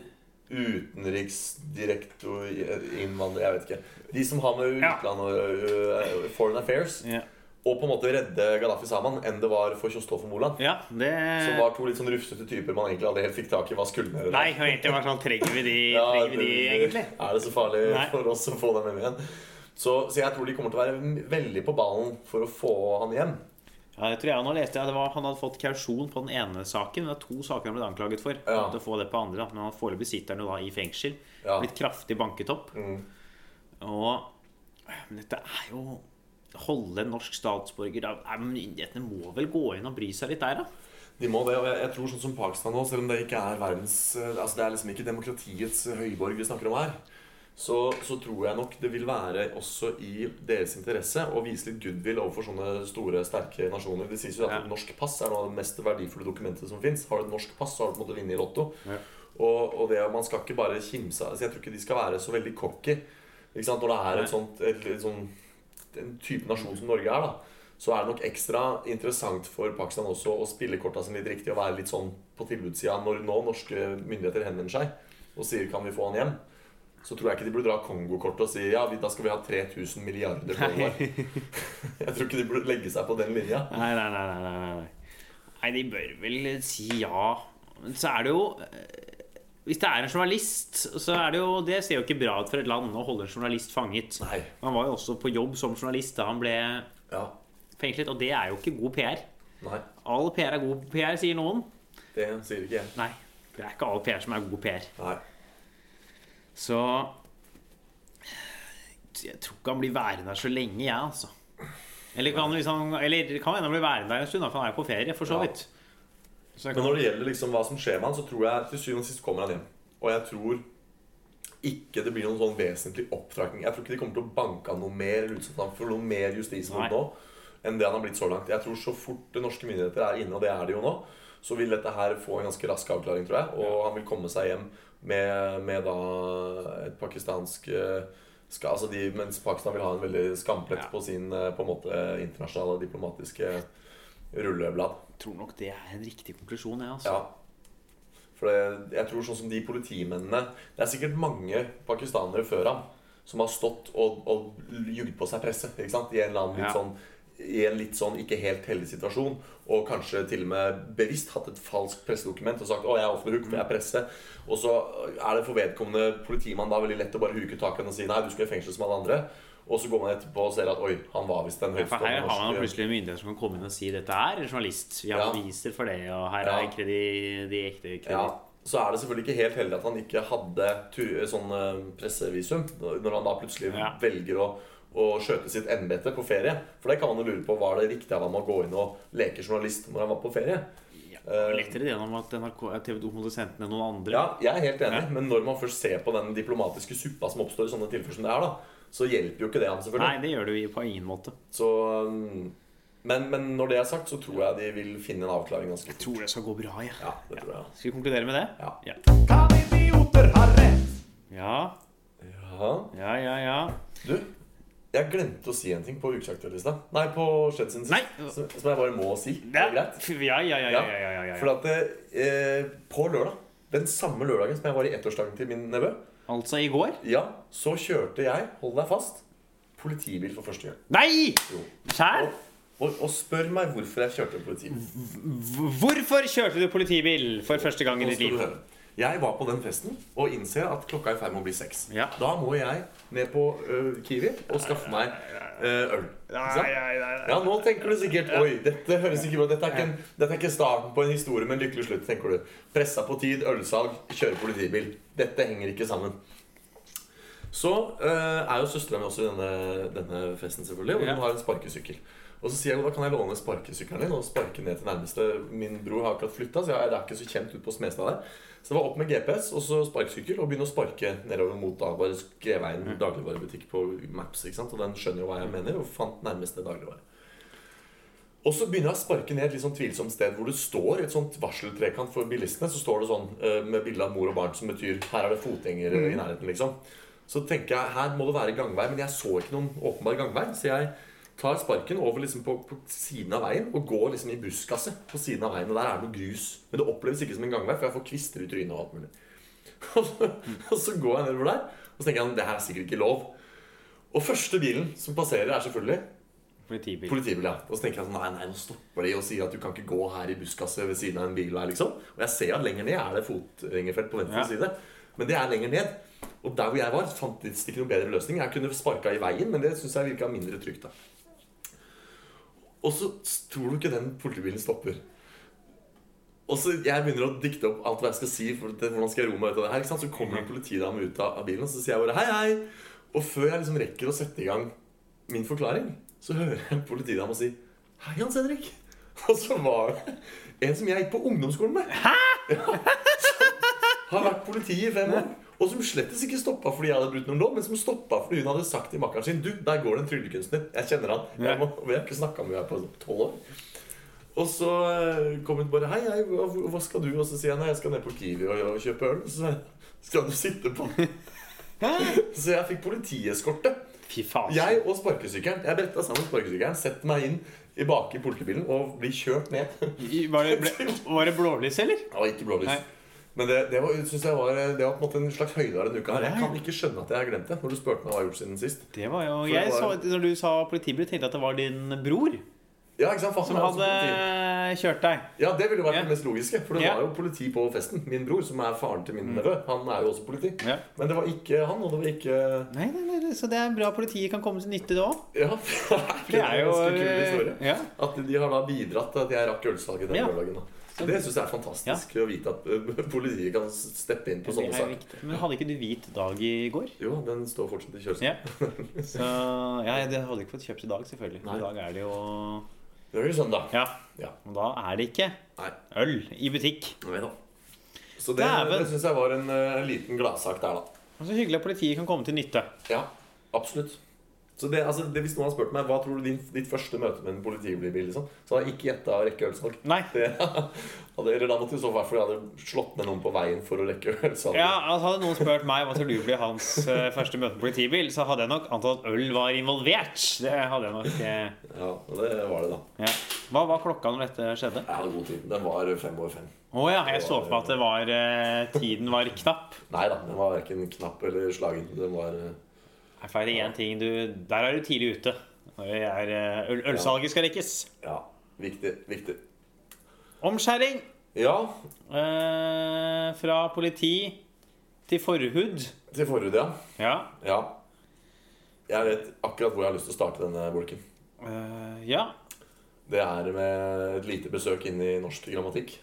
utenriksdirektor innvandrer Jeg vet ikke. De som har med Ja. utland og eh, foreign affairs. ja. Og på en måte redde Gaddafi Saman enn det var for Kjostolf og Moland. ja, det Som var to litt sånn rufsete typer man egentlig aldri helt fikk tak i hva skulle med. Eh. Nei, og egentlig var det sånn Trenger vi de, Ja, trenger vi de det- egentlig? Er det så farlig Nei. for oss å få dem hjem igjen? Så, så jeg tror de kommer til å være m- veldig på ballen for å få han hjem. Ja, det tror jeg nå leste jeg det var, Han hadde fått kausjon på den ene saken. Men det er to saker han ble anklaget for. Ja. Han måtte få det på andre, da. Men han foreløpig sitter han jo da i fengsel. Ja. Mm. Blitt kraftig banket opp. Og Men dette er jo Holde en norsk statsborger da, nei, men Myndighetene må vel gå inn og bry seg litt der, da? De må det, og jeg, jeg tror sånn som Pakistan nå, selv om det ikke er verdens eh, Altså det er liksom ikke demokratiets høyborg vi snakker om her, så, så tror jeg nok det vil være også i deres interesse å vise litt goodwill overfor sånne store, sterke nasjoner. Det sies jo at Ja. et norsk pass er noe av det mest verdifulle dokumentet som fins. Har du et norsk pass, så har du på en måte vunnet i Lotto. Ja. Og, og det, at man skal ikke bare kimse av altså Jeg tror ikke de skal være så veldig cocky. Ikke sant? Når det er et sånt, et, et sånn- en type nasjon som Norge er, da, så er det nok ekstra interessant for Pakistan også å spille korta sine litt riktig og være litt sånn på tilbudssida når nå norske myndigheter henvender seg og sier 'kan vi få han hjem'? Så tror jeg ikke de burde dra Kongo-kortet og si 'ja, vi, da skal vi ha 3000 milliarder dollar'. jeg tror ikke de burde legge seg på den linja. Nei, nei, nei. Nei, nei, nei. nei de bør vel si ja. Men så er det jo eh, Hvis det er en journalist, så er det jo Det ser jo ikke bra ut for et land å holde en journalist fanget. Nei. Han var jo også på jobb som journalist da han ble Ja. fengslet, og det er jo ikke god PR. Nei. All PR er god PR, sier noen. Det sier ikke jeg. Nei, det er ikke all PR som er god PR. Nei. Så Jeg tror ikke han blir værende her så lenge, jeg, altså. Eller kan, hvis han, liksom, eller det kan hende han blir værende her en stund, da, for han er jo på ferie, for så Ja. vidt. Så jeg kan, Men når det gjelder liksom hva som skjer med han, så tror jeg til syvende og sist kommer han hjem. Og jeg tror ikke det blir noen sånn vesentlig opptrapping. Jeg tror ikke de kommer til å banke han noe mer eller utsette han for noe mer Nei. justismord nå enn det han har blitt så langt. Jeg tror så fort det norske myndigheter er inne, og det er de jo nå, så vil dette her få en ganske rask avklaring, tror jeg. Og han vil komme seg hjem med, med da et pakistansk eh, ska, altså de, Mens Pakistan vil ha en veldig skamplett Ja. på sin eh, på en måte internasjonale diplomatiske rulleblad. tror nok det er en riktig konklusjon, jeg, altså. Ja. For det, jeg tror sånn som de politimennene Det er sikkert mange pakistanere før ham som har stått og, og jugd på seg presse ikke sant? i en eller annen litt Ja. sånn i en litt sånn ikke helt heldig situasjon, og kanskje til og med bevisst hatt et falskt pressedokument og sagt 'Å, jeg er off the hook, for jeg er presse'. Og så er det for vedkommende politimann da veldig lett å bare huke tak i han og si 'Nei, du skal i fengsel som alle andre'. Og så går man etterpå og ser at 'Oi, han var visst den For her høyeste har man jo plutselig en myndighet som kan komme inn og si dette er en journalist. Vi har Ja. beviser for det, og her Ja. er kredi, de ekte Ja, kredittene. så er det selvfølgelig ikke helt heldig at han ikke hadde tur, sånn eh, pressevisum, når han da plutselig Ja. velger å, og skjøte sitt embete på ferie. For det kan man jo lure på, var det riktig av ham å gå inn og leke journalist når han var på ferie? Eh, Lettere det enn at NRK, TV 2 måtte sendt ned noen andre. Ja, jeg er helt enig, men når man først ser på den diplomatiske suppa som oppstår i sånne tilfeller som det er, da, så hjelper jo ikke det ham, Nei, selvfølgelig. det gjør det jo på ingen måte. Så, um, men, men når det er sagt, så tror jeg de vil finne en avklaring ganske fort. Tror det skal gå bra, jeg. Ja, det tror jeg. Skal vi konkludere med det? Ja. Ja, Kan idioter ha rett? ja, Ja. ja, ja. ja. Du, jeg glemte å si en ting på ukesaktuell-lista. Nei, på Shed sin Nei. Som som jeg bare må si. Det er greit. Ja, ja, ja. ja, ja, ja, ja, For at eh, på lørdag, den samme lørdagen som jeg var i ettårsdagen til min nevø, Altså i går? ja, så kjørte jeg, hold deg fast, politibil for første gang. Nei! Jo. Skjær? Og, og, og spør meg hvorfor jeg kjørte politibil. Hvorfor kjørte du politibil for første gang i Nå ditt skal du liv? høre. Jeg var på den festen og innser at klokka er i ferd med å bli seks. Ja. Da må jeg ned på ø, Kiwi og skaffe meg ø, øl. Ikke sant? eh, Ja, nå tenker du sikkert Oi, dette høres ikke bra Dette er ikke, en, dette er ikke starten på en historie med en lykkelig slutt, tenker du. Pressa på tid, ølsalg, kjøre politibil. Dette henger ikke sammen. Så eh, er jo søstera mi også i denne, denne festen, selvfølgelig. Og Ja. hun har en sparkesykkel. Og så sier jeg, da kan jeg låne sparkesykkelen din og sparke ned til nærmeste Min bror har akkurat flytta, så jeg er ikke så kjent ute på Smestad der. Så det var opp med GPS og så sparkesykkel og begynne å sparke nedover mot da bare Skreveien dagligvarebutikk på Maps. ikke sant? Og den skjønner jo hva jeg mener, og fant nærmeste dagligvare. Og så begynner jeg å sparke ned et litt sånn tvilsomt sted hvor det står et sånt varseltrekant for bilistene. Så står det sånn eh, med bilde av mor og barn som betyr her er det fotgjengere i nærheten, liksom. Så tenker jeg her må det være gangvei, men jeg så ikke noen åpenbar gangvei. Så jeg tar sparken over liksom på, på siden av veien og går liksom i buskaset på siden av veien. Og der er det noe grus. Men det oppleves ikke som en gangvei, for jeg får kvister i trynet og alt mulig. Og så, og så går jeg nedover der, og så tenker jeg det her er sikkert ikke lov. Og første bilen som passerer, er selvfølgelig Politibil. Politibil, ja. Og så tenker jeg sånn, nei, nei, nå stopper de og sier at du kan ikke gå her i buskaset ved siden av en bil her, liksom. Og jeg ser at lenger ned er det fotgjengerfelt på venstre Ja. side. Men det er lenger ned. Og der hvor jeg var, fantes det ikke noen bedre løsning. Jeg kunne sparka i veien, men det syns jeg virka mindre trygt, da. Og så s- tror du ikke den politibilen stopper. Og så Jeg begynner å dikte opp alt hva jeg skal si. For det, hvordan skal jeg roe meg ut av det her, ikke sant? Så kommer det en politidame ut av, av bilen, og så sier jeg bare hei, hei. Og før jeg liksom rekker å sette i gang min forklaring, så hører jeg en politidame si Hei, Hans Henrik. Og så var det en som jeg gikk på ungdomsskolen med. Hæ? Ja, som har vært politi i fem år. Og som slettes ikke stoppa fordi jeg hadde brutt noen lov, men som stoppa fordi hun hadde sagt til makkeren sin Du, der går det en tryllekunstner. Jeg kjenner han. Jeg må, vi har ikke snakka med henne på tolv år. Og så eh, kom hun bare Hei, hei, hva, hva skal du? Og så sier jeg nei, jeg skal ned på Kiwi og, og kjøpe øl. Så sa jeg, skal du sitte på den?» Så jeg fikk politieskorte. Fy faen. Jeg og sparkesykkelen. Jeg bretta sammen sparkesykkelen, setter meg inn i bak i politibilen og blir kjørt ned. Det I- Var det, ble, var det blålys, eller? var ikke Nei. blålys. Men det, det, var, synes jeg var, det var på en måte en slags høyde av denne uka. her Jeg Nei. kan ikke skjønne at jeg har glemt det. Når du spurte meg hva jeg har gjort siden sist. Det var jo det Jeg så, var- Når du sa politibil, tenkte jeg at det var din bror Ja, ikke sant? Faen, som jeg er også hadde politi. kjørt deg. ja, Det ville jo vært Ja. det mest logiske. For det Ja. Mm. var jo politi på festen. Min bror, som er faren til min nevø, han er jo også politi. Ja. Men det var ikke han, og det var ikke Nei, nei, nei, det- Så det er bra politiet kan komme til nytte, det òg. Ja, det Det er jo en ganske kul historie. ja. At de har da bidratt til at jeg rakk ølsalget den Ja. lørdagen. da. Så Det syns jeg er fantastisk å vite at eh, politiet kan steppe inn på Det sånne er saker. viktig. Men hadde ikke du hvit dag i går? Jo, den står fortsatt i kjøleskapet. Ja. Så ja, det hadde ikke fått kjøpt i dag, selvfølgelig. Nei. I dag er det jo Det er jo søndag. Ja. Ja. Og da er det ikke Nei, øl i butikk. nei da. Så det, Dæven. det syns jeg var en eh, liten gladsak der, da. Og Så hyggelig at politiet kan komme til nytte. Ja, absolutt. Så det, altså, det, Hvis noen har spurt meg hva tror du din, ditt første møte med en politibil blir, liksom, så hadde jeg ikke gjetta å rekke ølsalg. Nei. Det, hadde- eller da måtte i så fall jeg hadde slått ned noen på veien for å rekke ølsalg. Ja, altså Hadde noen spurt meg hva skal du bli hans eh, første møte med politibil, så hadde jeg nok antatt at øl var involvert. Det hadde jeg nok eh, Ja, og det var det, da. ja. Hva var klokka når dette skjedde? Jeg hadde god tid. Den var fem over fem. Å ja, jeg så for meg at det var eh, tiden var knapp. Nei da, den var verken knapp eller slagen. Den var eh, Jeg feirer én ting. Du, der er du tidlig ute. Når det er, eh, øl, ølsalget skal rekkes. ja, viktig. Viktig. Omskjæring Ja, eh, fra politi til forhud. til forhud, ja. Ja. ja. Jeg vet akkurat hvor jeg har lyst til å starte denne bolken. Eh, ja. Det er med et lite besøk inn i norsk grammatikk.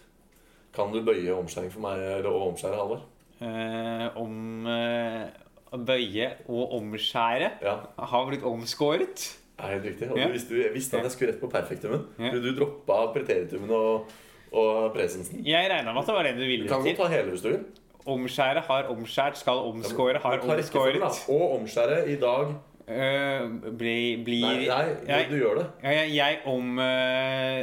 Kan du bøye omskjæring for meg, eller og omskjære, Halvor? Eh, om eh, bøye og omskjære Ja, har blitt omskåret. det er helt riktig. Og Ja. du visste, jeg visste at jeg skulle rett på perfektumen. Ja. Men Du droppa preteritumen og, og presensen. Jeg regna med at det var det du Du ville kan godt til. ta hele historien. Omskjære har omskjært, skal omskåre, har Du tar omskåret. rekkefølgen, da. Og omskjære i dag. Øh, blir Nei, blir nei du, Jeg- du gjør det. Ja, jeg, jeg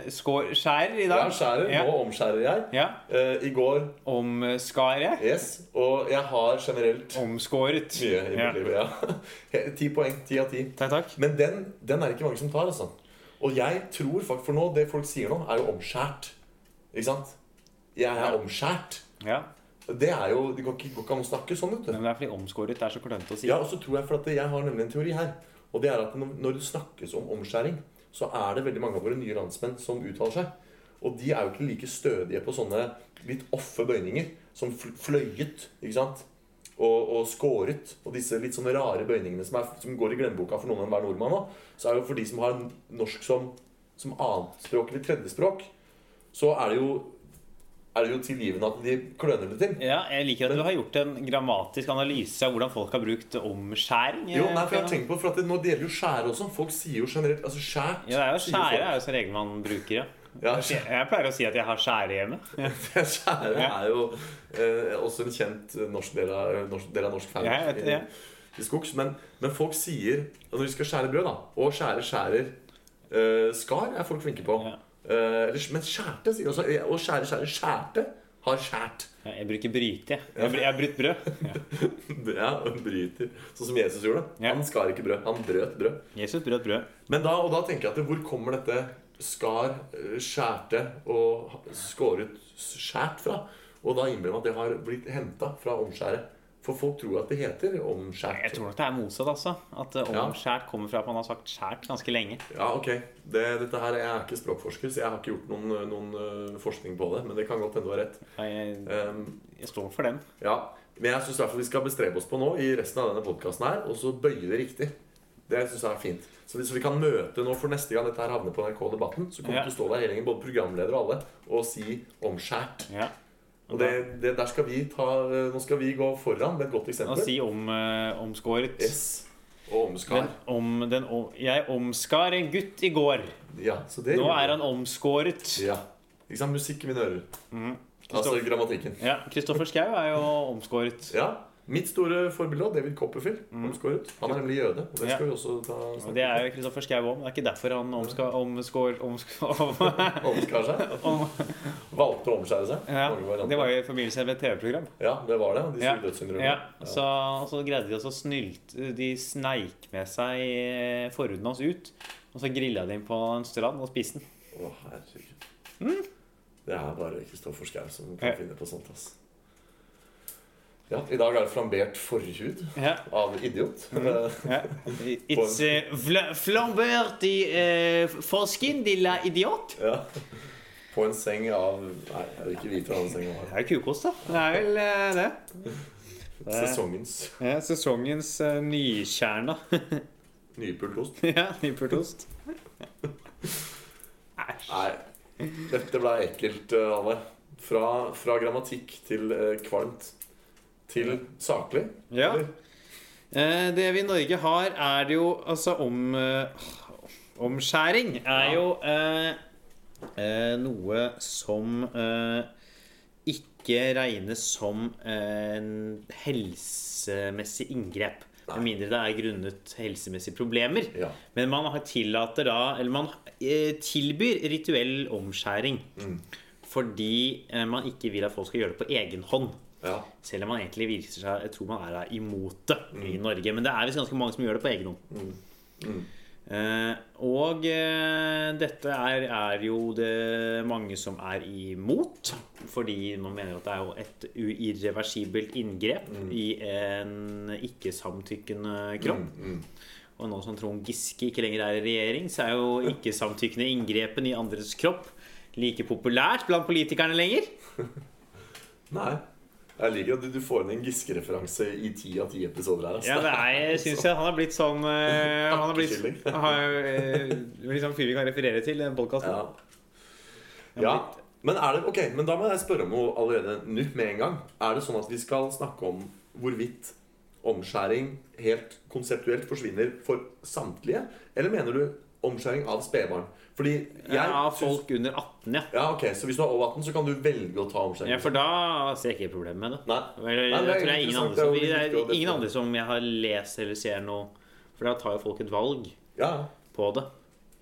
omskjærer i dag. Jeg skjærer, Ja. nå omskjærer jeg. Ja. Eh, I går Omskar jeg. yes. Og jeg har generelt Omskåret. mye i Ja. mitt liv. Ja. Ti poeng. Ti av ti. Takk, takk. Men den, den er det ikke mange som tar, altså. Og jeg tror faktisk For nå, det folk sier nå, er jo omskjært. Ikke sant? Jeg er omskjært. Ja. Det er jo Det går ikke, går ikke an å snakke sånn, vet du. Men det er fordi omskåret er så klønete å si. Ja, og så tror jeg for at jeg har nemlig en teori her. Og det er at når når det snakkes om omskjæring, så er det veldig mange av våre nye landsmenn som uttaler seg. Og de er jo ikke like stødige på sånne litt offe bøyninger som fl fløyet, ikke sant? Og, og skåret. Og disse litt sånne rare bøyningene som, er, som går i glemmeboka for noen enhver nordmann nå. Så er det jo for de som har norsk som, som annetspråk eller tredjespråk, så er det jo er det jo tilgivende at de kløner det til. Ja, jeg liker at du har gjort en grammatisk analyse av hvordan folk har brukt omskjæring. Eh, Jo, nei, for jeg har ja, tenkt på for at det, Nå deler jo skjære også. Folk sier jo generelt altså skjært. det er jo sier skjære er folk. jo som regel man bruker, ja. Ja, skjæ- Jeg pleier å si at jeg har skjære hjemme. Ja, skjære Ja. er jo eh, også en kjent norsk del av norsk, del av norsk fan jeg vet det. ja. i, i skogs. Men, men folk sier at Når de skal skjære brød, da, og skjære skjærer eh, Skar er folk flinke på. Ja. Eh, eller- men skjærte sier også. Og skjære skjærer skjærte har skjært. Ja, Jeg bruker bryte, jeg. Jeg br- Jeg har brutt brød. Ja. Ja, og bryter. Sånn som Jesus gjorde. Ja. Han skar ikke brød. Han brøt brød. Jesus brøt brød. Men da, og da tenker jeg at det, hvor kommer dette skar, eh, skjærte og ha- skåret skjært fra? Og da innbiller jeg meg at det har blitt henta fra omskjære. For folk tror at det heter Jeg omskjært. tror nok det er motsatt, altså. At eh, omskjært kommer fra at man har sagt skjært ganske lenge. Ja, ok. Det, dette her, Jeg er ikke språkforsker, så jeg har ikke gjort noen, noen eh, forskning på det. Men det kan godt hende du har rett. Ja, Jeg, Ehm, jeg står for den. ja. Men jeg syns vi skal bestrebe oss på nå i resten av denne podkasten her, og så bøye det riktig. Det synes jeg er fint. Så, vi- så vi kan møte nå for neste gang dette her havner på NRK-debatten, så kommer Ja. du til å stå der hele gjengen, både programleder og alle, og si 'omskjært'. Ja. Og det, det, der skal vi ta, eh, Nå skal vi gå foran med et Og godt eksempel. si om, eh, omskåret. S og omskar. Den, om, den, om, jeg omskar en gutt i går. Ja, så det Nå gjorde er vi. han omskåret. ja. Ikke sant? Musikk i mine ører. Mm-hmm. Altså grammatikken. Ja, Kristoffer Schau er jo omskåret. Ja. Mitt store forbilde, David Copperfield, omskåret. Han er nemlig jøde. og Det Mm-hmm. Ja. skal vi også ta Og det er jo Kristoffer Schau òg, men det er ikke derfor han omska, omskår, omsk, om, Omskar seg. om, Valgte å omskjære seg. ja, Mange varianter. Det var jo i forbindelse med et TV-program. ja, det var det. De Ja, store dødssyndromene. ja, så, så greide de også å snylte De sneik med seg eh, forhuden hans ut. Og så grilla de inn på en strand og spiste den. Å, herregud. Det er bare Kristoffer Schau som kan Mm. Ja. finne på sånt. ass. Ja, I dag er det flambert forhud Ja, av idiot. ja. It's eh, fla- flambert i eh, forskin, lilla idiot. ja. På en seng av Nei, jeg vil ikke vite hva den senga var. Det er jo kukost, da. Det er vel eh, det. Sesongens Ja, sesongens uh, nykjerna. nypult ost. ja, nypurt ost. Æsj. Nei, dette ble ekkelt, eh, alle. Fra, fra grammatikk til eh, kvalmt til saklig. Ja. eller? Eh, det vi i Norge har, er det jo altså om eh, Omskjæring er jo eh, eh, noe som eh, ikke regnes som en helsemessig inngrep. Med mindre det er grunnet helsemessige problemer. Ja. Men man har tillater da Eller man eh, tilbyr rituell omskjæring. Mm. Fordi eh, man ikke vil at folk skal gjøre det på egen hånd. ja. Selv om man egentlig virker seg Jeg tror man er da imot det i Norge. Men det er visst ganske mange som gjør det på egen hånd. Eh, og eh, dette er, er jo det mange som er imot. Fordi man mener at det er jo et u- irreversibelt inngrep i en ikke-samtykkende kropp. Og nå som Trond Giske ikke lenger er i regjering, så er jo ikke-samtykkende inngrepen i andres kropp like populært blant politikerne lenger. Nei. Jeg liker at du, du får inn en Giske-referanse i ti av ti episoder her. altså. ass. Ja, det er, jeg syns jeg han har blitt sånn eh, Han har blitt Hakkekylling. han har, eh, blitt sånn fyr vi kan referere til i den podkasten. Ja. ja. Men, er det, ok, men da må jeg spørre om noe allerede nå med en gang. Er det sånn at vi skal snakke om hvorvidt omskjæring helt konseptuelt forsvinner for samtlige? Eller mener du omskjæring av spedbarn? Fordi jeg Ja, Eh, syns- folk under 18, ja. Ja, ok, Så hvis du er over 18, så kan du velge å ta omskjæring? Ja, for da ser jeg ikke problemet med det. Nei. Vel, Nei, det det er tror jeg ingen interessant, andre som, det det er jo viktig å er ingen definere. andre som jeg har lest eller ser noe For da tar jo folk et valg Ja. på det.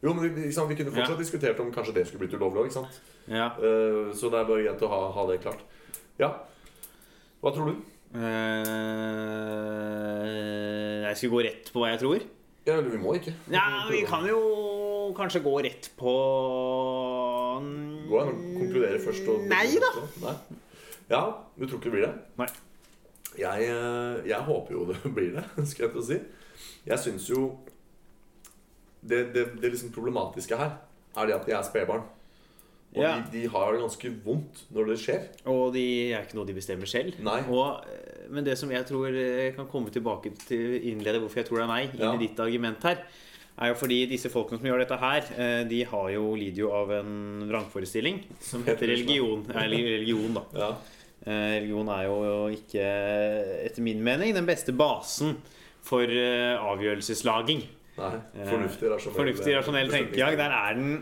Jo, men vi, ikke sant, vi kunne fortsatt Ja. diskutert om kanskje det skulle blitt ulovlig òg, ikke sant? Ja. Eh, Så det er bare greit å ha, ha det klart. Ja. Hva tror du? Eh, jeg skal gå rett på hva jeg tror. Ja, eller vi må ikke. Ja, vi kan jo kanskje gå rett på Gå an og konkludere først. Og... Nei da. Nei. Ja, du tror ikke det blir det? Nei. Jeg, eh, jeg håper jo det blir det, skal jeg til å si. Jeg syns jo det, det, det liksom problematiske her er det at de er spedbarn. Og Ja. de, de har det ganske vondt når det skjer. Og de er ikke noe de bestemmer selv. Nei. Og, eh, men det som jeg tror eh, kan komme tilbake til innlede hvorfor jeg tror det er nei, inn Ja. i ditt argument her, er jo fordi disse folkene som gjør dette her, eh, de har jo lider jo av en vrangforestilling som Heter heter det religion. Eller religion, da. Ja. Eh, Religion er jo ikke, etter min mening, den beste basen for eh, avgjørelseslaging. Nei. Eh, Fornuftig, rasjonell Fornuftig, rasjonell tenkegang. Der er den,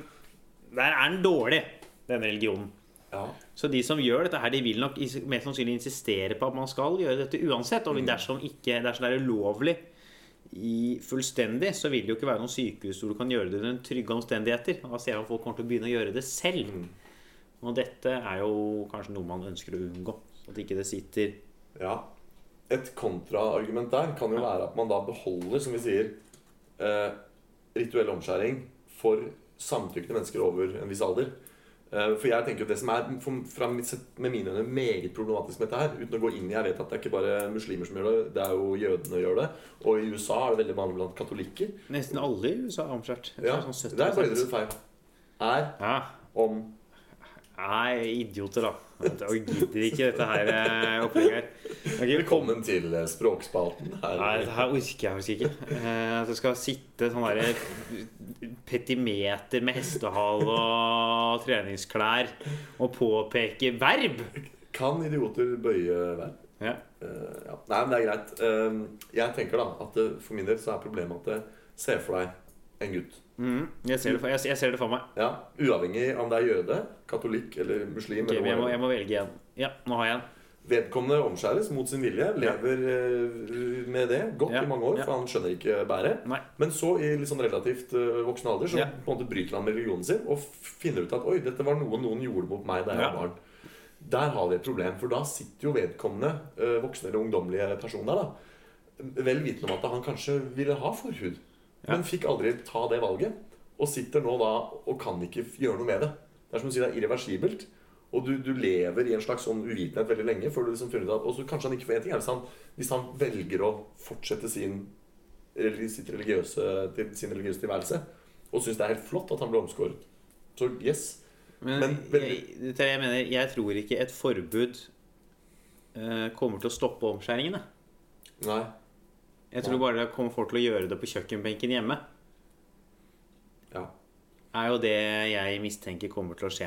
der er den dårlig, den religionen. Ja. Så de som gjør dette her, de vil nok is- mest sannsynlig insistere på at man skal gjøre dette uansett. Og dersom, ikke, dersom det er ulovlig i fullstendig, så vil det jo ikke være noen sykehus hvor du kan gjøre det under trygge omstendigheter. Da ser man at folk kommer til å begynne å gjøre det selv. Og dette er jo kanskje noe man ønsker å unngå. At ikke det sitter Ja. Et kontraargument der kan jo være at man da beholder, som vi sier, eh, rituell omskjæring for samtykkende mennesker over en viss alder. Eh, for jeg tenker jo det som er for, fra mitt sett, med mine øyne meget problematisk med dette her Uten å gå inn i Jeg vet at det er ikke bare muslimer som gjør det, det er jo jødene som gjør det. Og i USA er det veldig vanlig blant katolikker. Nesten alle i USA er omskjært. Jeg tror Ja, det er sånn det er 70%. bare feil. Er Ja. om Nei, idioter, da. Jeg gidder ikke dette her eh, opplegget her. Okay, Velkommen til eh, språkspalten her. Nei, dette her orker jeg faktisk ikke. Eh, At det skal sitte sånn derre petimeter med hestehale og treningsklær og påpeke verb! Kan idioter bøye verv? Ja. Eh, ja. Nei, men det er greit. Eh, jeg tenker da at det, for min del så er problemet at det, se for deg en gutt. Mhm. jeg, ser det for, jeg, jeg ser det for meg. Ja, Uavhengig om det er jøde, katolikk eller muslim. Ok, men jeg, eller må, hva det jeg er. må velge en. Ja, nå har jeg en. Vedkommende omskjæres mot sin vilje, lever eh, med det godt Ja, i mange år, ja. for han skjønner ikke bæret. Nei. Men så, i litt sånn relativt eh, voksen alder, så Ja. på en måte bryter han med religionen sin og finner ut at oi, dette var noe noen gjorde mot meg da jeg Ja. var barn. Der har vi et problem, for da sitter jo vedkommende eh, voksne eller ungdommelige person der, da. Vel vitende om at han kanskje ville ha forhud, Ja. men fikk aldri ta det valget. Og sitter nå da og kan ikke f- gjøre noe med det. Det er som du sier, det er irreversibelt. Og du, du lever i en slags sånn uvitenhet veldig lenge. før du liksom finner ut at, Og så kanskje han ikke får en ting er hvis han, hvis han velger å fortsette sin religi- sitt religiøse, til, sin religiøse tilværelse. Og syns det er helt flott at han ble omskåret. Så yes. Men, Men veldig- jeg, det er det jeg mener, jeg tror ikke et forbud eh, kommer til å stoppe omskjæringene. Nei. Jeg tror bare det kommer folk til å gjøre det på kjøkkenbenken hjemme. Ja. Er jo det jeg mistenker kommer til å skje.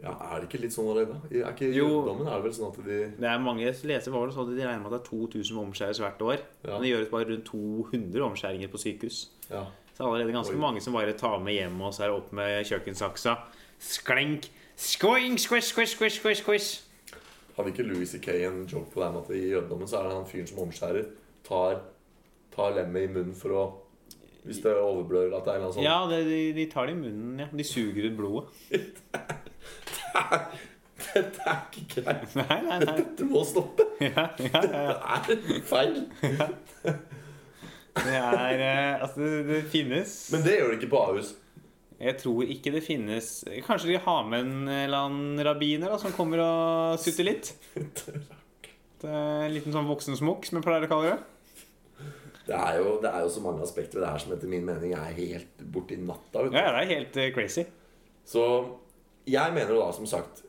ja er det ikke litt sånn allerede? Er ikke Jo. jødedommen er det vel sånn at de Det er mange leser var det sånn at de regner med at det er 2000 omskjæres hvert år. Ja. Men det gjøres bare rundt 200 omskjæringer på sykehus. Ja. Så det er allerede ganske Oi. mange som bare tar med hjem og så er det opp med kjøkkensaksa. Sklenk! Skoing! Squish, squish, squish, squish, squish. Hadde ikke Louis C.K. en joke på det her med at i jødedommen så er det han fyren som omskjærer, tar, tar lemmet i munnen for å Hvis det overblør eller at det er en eller annen sånn Ja, det, de, de tar det i munnen. ja. De suger ut blodet. Dette er ikke greit. Nei, nei, nei. Dette må stoppe. Ja, ja, ja. Det er feil. Det er eh, Altså, det, det finnes Men det gjør det ikke på Ahus. Jeg tror ikke det finnes Kanskje de har med en eller annen rabbiner da, som kommer og sutter litt? Det er En liten sånn voksensmokk, som jeg pleier å kalle det. Det er, jo, det er jo så mange aspekter ved det her som etter min mening er helt borti natta. Vet du. Ja, ja, det er helt eh, crazy. Så jeg mener jo da, som sagt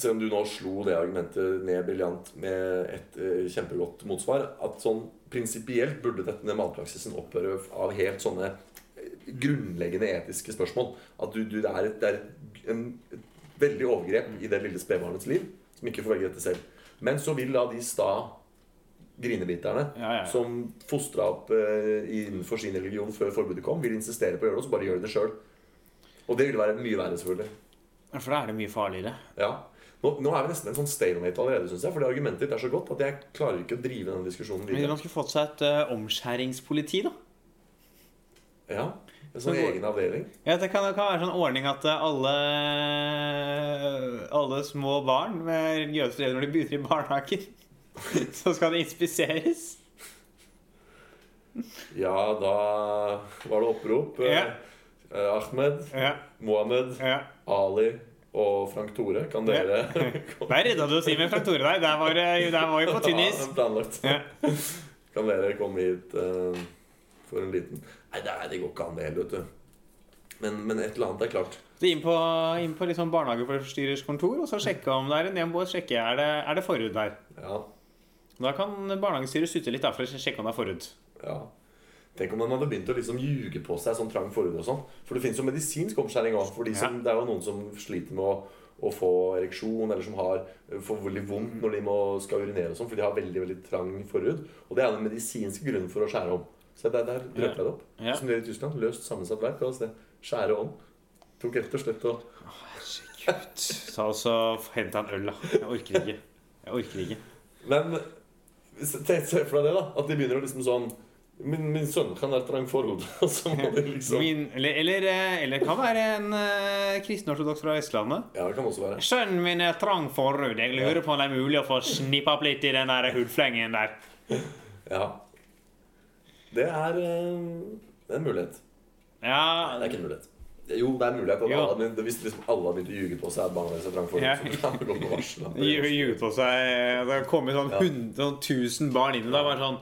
Selv om du nå slo det argumentet ned briljant med et eh, kjempegodt motsvar, at sånn prinsipielt burde denne matpraksisen opphøre av helt sånne eh, grunnleggende etiske spørsmål. At du, du, det er, et, det er et, en, et veldig overgrep i det lille spedbarnets liv, som ikke får velge dette selv. Men så vil da de sta grinebiterne Ja, ja, ja. som fostra opp eh, innenfor sin religion før forbudet kom, vil insistere på å gjøre det, og så bare gjør de det sjøl. Og det ville være mye verre, selvfølgelig. For da er det mye farligere. Ja. Nå, nå er vi nesten en sånn stalemate allerede, syns jeg, fordi argumentet ditt er så godt at jeg klarer ikke å drive den diskusjonen Men videre. man skulle fått seg et eh, omskjæringspoliti, da. Ja, En sånn Men- egen avdeling. Ja, det kan, det kan være en sånn ordning at eh, alle, alle små barn med religiøse foreldre når de begynner i barnehagen, så skal det inspiseres. Ja, da var det opprop. Eh, Ja. eh, Ahmed, Ja, Mohammed, ja. Ali og Frank Tore, kan dere Der redda du Simen fra Tore deg. Der var, det- der var vi på tynn is. Ja, planlagt. Ja. Kan dere komme hit eh, for en liten Nei, det, er- det går ikke an, det heller, vet du. Men, men et eller annet er klart. Så inn på, inn på liksom barnehageforstyrrers kontor og så sjekke om det er en hjemboer. Sjekke er det, er det forhud der. Ja, Da kan barnehagestyret sutte litt da, for å sjekke om det er forhud. ja. Tenk om den hadde begynt å liksom ljuge på seg sånn trang forhud og sånn. For det fins jo medisinsk omskjæring òg. For de som, det er jo noen som sliter med å, å få ereksjon, eller som har, eh, får veldig vondt når de må, skal urinere og sånn, fordi de har veldig veldig trang forhud. Og det er den medisinske grunnen for å skjære om. Så der, der løp jeg det opp. Ja. Som de gjør i Tyskland. Løst sammensatt verk. Altså det. Skjære om. Tok rett og slett og Ta og så altså, hent deg en øl, da. Jeg orker ikke. Jeg orker ikke. Men se se for deg det, da. At de begynner å liksom sånn Min, min sønn kan ha trang forhud. Og så må de liksom Ja, Min, eller, eller, eh, eller det kan være en uh, kristenortodoks fra Vestlandet. det kan også være. Sønnen min er trang forhud. Jeg lurer på om det er mulig å få snippa opp litt i den der hudflengen der. Ja. Det er eh, Det er en mulighet. Nei, Ja, det er ikke en mulighet. Jo, det er en mulighet. At Jo. alle, hadde begynt- hvis liksom alle hadde begynt å ljuge på seg at barna deres har trang forhud, Ja. så ville han gått på varsel. at Ju- det- Ljuget på seg Det kom sånn Ja. 100 sånn 1000 barn inn. Og da var det sånn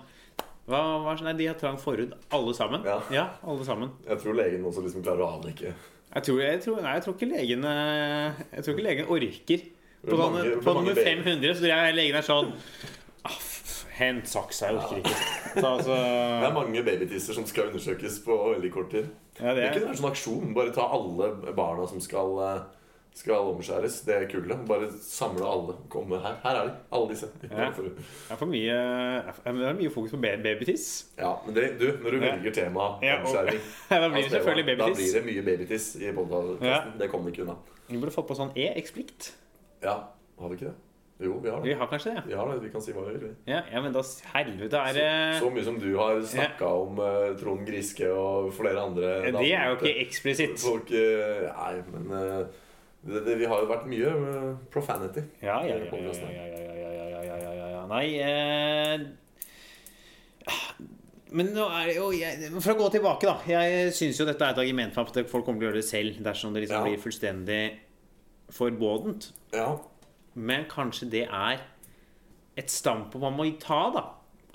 hva, hva, er sånn- Nei, de har trang forhud, alle sammen. Ja. alle sammen. Jeg tror legen også liksom klarer å avdekke Jeg tror, jeg tror, nei, jeg tror ikke legen eh, Jeg tror ikke legen orker. Det På, blir sånn, mange- det blir på mange nummer babyer. 500 så tror jeg legen er sånn «Ah, f- Hent saksa, jeg orker ikke. Så, altså, Det er mange babytisser som skal undersøkes på veldig kort tid. ja, det Det er, kunne vært en sånn aksjon. Bare ta alle barna som skal, eh, skal omskjæres. Det er kullet. Bare samle alle. Komme her. Her er de. Alle disse. Ja. det er for mye det er for- Det er mye fokus på ba- babytiss. Ja, men det, du, når du Ja. velger tema Ja, og- omskjæring da blir det altså, selvfølgelig Da blir babytiss. det mye babytiss i podkasten. Ja. Det kommer vi ikke unna. Vi burde fått på sånn E-eksplikt. Ja, har vi ikke det? Jo, vi har Vi det. har kanskje det, ja. Vi har det, vi kan si hva vi vil. vi. ja, ja men da Helvete, er det Så mye som du har snakka om eh, Trond Griske og flere andre Ja, Det er jo navn. ikke eksplisitt. Folk eh, Nei, men eh, det, det, vi har jo vært mye eh, profanity. Ja, ja, i ja, ja, podcasten. ja, ja, ja, ja, ja, ja, ja, ja, ja, ja. Nei eh... Men nå er det jo jeg, For å gå tilbake, da. Jeg syns jo dette er et argument for at folk kommer til å gjøre det selv dersom det liksom Ja. blir fullstendig forbodent. Ja. Men kanskje det er et standpunkt man må ta, da.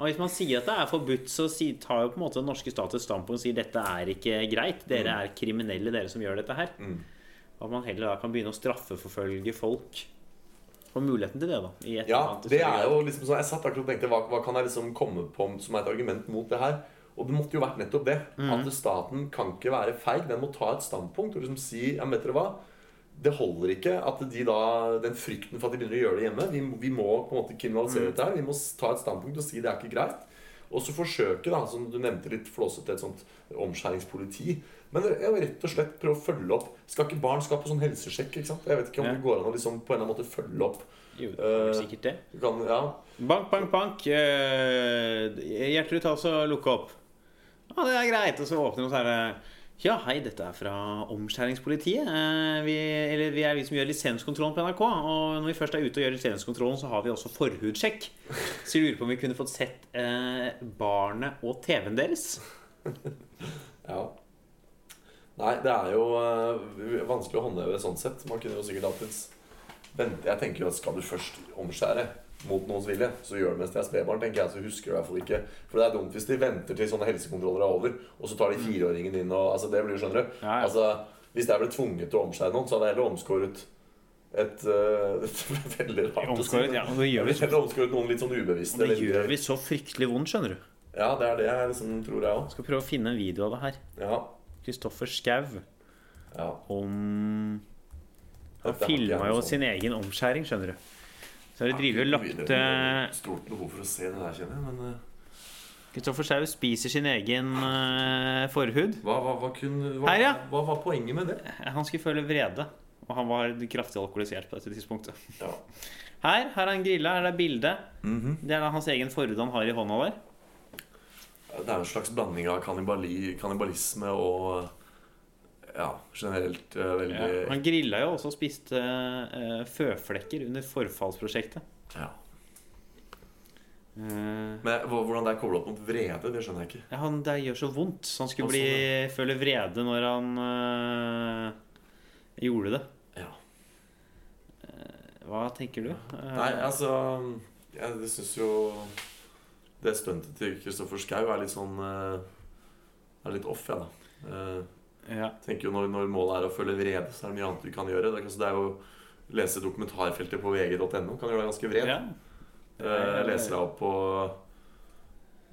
Og hvis man sier at det er forbudt, så si- tar jo på en måte den norske stat et standpunkt og sier dette er ikke greit. Mm. Dere er kriminelle, dere som gjør dette her. At man heller da kan begynne å straffeforfølge folk. Og muligheten til det, da. I et Ja, eller annet det større er grad. jo liksom sånn Jeg satt akkurat og tenkte hva, hva kan jeg liksom komme på som er et argument mot det her? Og det måtte jo vært nettopp det. Mm. At staten kan ikke være feig. Den må ta et standpunkt og liksom si ja, men vet dere hva? Det holder ikke at de da, den frykten for at de begynner å gjøre det hjemme Vi, vi må på en måte kriminalisere Mm. dette her. Vi må s- ta et standpunkt og si det er ikke greit. Og så forsøke, da, som du nevnte litt flåsete, et sånt omskjæringspoliti. Men ja, rett og slett prøve å følge opp. Skal ikke barn skal på sånn helsesjekk? ikke sant? Jeg vet ikke om Ja. det går an å liksom på en eller annen måte følge opp. Jo, det er jo Eh, sikkert det. Du kan, ja, Bank, bank, bank. Eh, Gjertrud, ta så lukke opp. Ja, det er greit. Og så åpner hun, og så er det Ja, hei, dette er fra Omskjæringspolitiet. Eh, vi, eller vi er vi som gjør lisenskontrollen på NRK. Og når vi først er ute og gjør lisenskontrollen, så har vi også forhudsjekk. Så vi lurer på om vi kunne fått sett eh, barnet og TV-en deres. Ja. Nei, det er jo eh, vanskelig å håndheve sånn sett. Man kunne jo sikkert hatt et Vent, Jeg tenker jo at skal du først omskjære mot noens vilje, så gjør det mens de er spedbarn, tenker jeg, så husker du i hvert fall ikke. For det er dumt hvis de venter til sånne helsekontroller er over, og så tar de fireåringen inn og Altså, det blir jo, skjønner du. Mm. Ja, ja. Altså, hvis jeg ble tvunget til å omskjære noen, så hadde jeg heller omskåret et eh, Veldig rart å si, Omskåret, men- ja, og det gjør vi. Jeg ville heller omskåret noen litt sånn ubevisst. Det eller- gjør vi så fryktelig vondt, skjønner du. Ja, det er det jeg liksom tror, jeg òg. Skal prøve å finne en video av det her. Ja. Kristoffer Schau ja. om Dette har ikke jeg filma noe jo sånn. sin egen omskjæring, skjønner du. Så Så har de drevet og Mye lagt eh, det- Stort behov for å se det der, kjenner jeg. Men eh, Kristoffer Schau spiser sin egen eh, forhud. hva, hva, hva, kunne, hva, Her, ja. hva var poenget med det? Han skulle føle vrede, og han var kraftig alkoholisert på dette tidspunktet. Ja. Her her har han grilla, her er bildet. Mhm. Det er da hans egen forhud han har i hånda der. Det er en slags blanding av kannibali, kannibalisme og ja, generelt eh, veldig ja. Han grilla jo også og spiste eh, føflekker under forfallsprosjektet. Eh, Men hva- hvordan det er kobla opp mot vrede, det skjønner jeg ikke. ja, han, det gjør så vondt, så han skulle Og bli, føle vrede når han eh, gjorde det. Eh, Ja. Hva tenker du? Eh, Nei, altså Jeg det syns jo det stuntet til Kristoffer Schou er litt sånn eh, Er litt off, jeg, ja, da. Eh, ja. tenker jo når, når målet er å føle vrede, så er det mye annet du kan gjøre. Det er, altså, det er jo Lese dokumentarfeltet på vg.no kan gjøre deg ganske vred. ja. Eh, leser deg opp på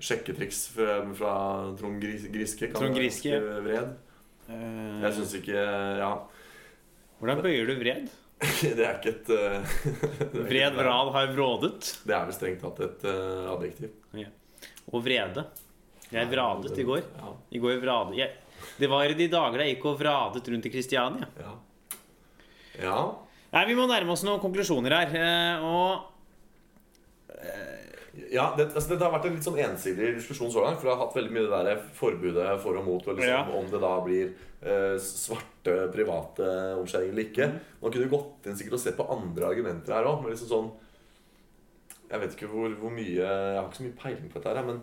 sjekketriks fra, fra Trond Gris Griske. Kan Trond gjøre deg Griske. ganske vred. Eh, Jeg syns ikke Ja, Hvordan bøyer du vred? det er ikke et eh, det er ikke et- Vred vrad har vrådet. Det er vel strengt tatt et eh, adjektiv. Og vrede. Jeg vradet i går. Ja, I går vradet jeg. Det var i de dager jeg gikk og vradet rundt i Kristiania. ja. ja. Nei, Vi må nærme oss noen konklusjoner her. eh, Og Ja, det, altså, det har vært en litt sånn ensidig diskusjon så langt. For det har hatt veldig mye det der forbudet for og mot, og liksom, Ja. om det da blir eh, svarte private omskjæringer eller ikke. Man kunne gått inn sikkert og sett på andre argumenter her òg, men liksom sånn Jeg vet ikke hvor, hvor mye Jeg har ikke så mye peiling på dette her, men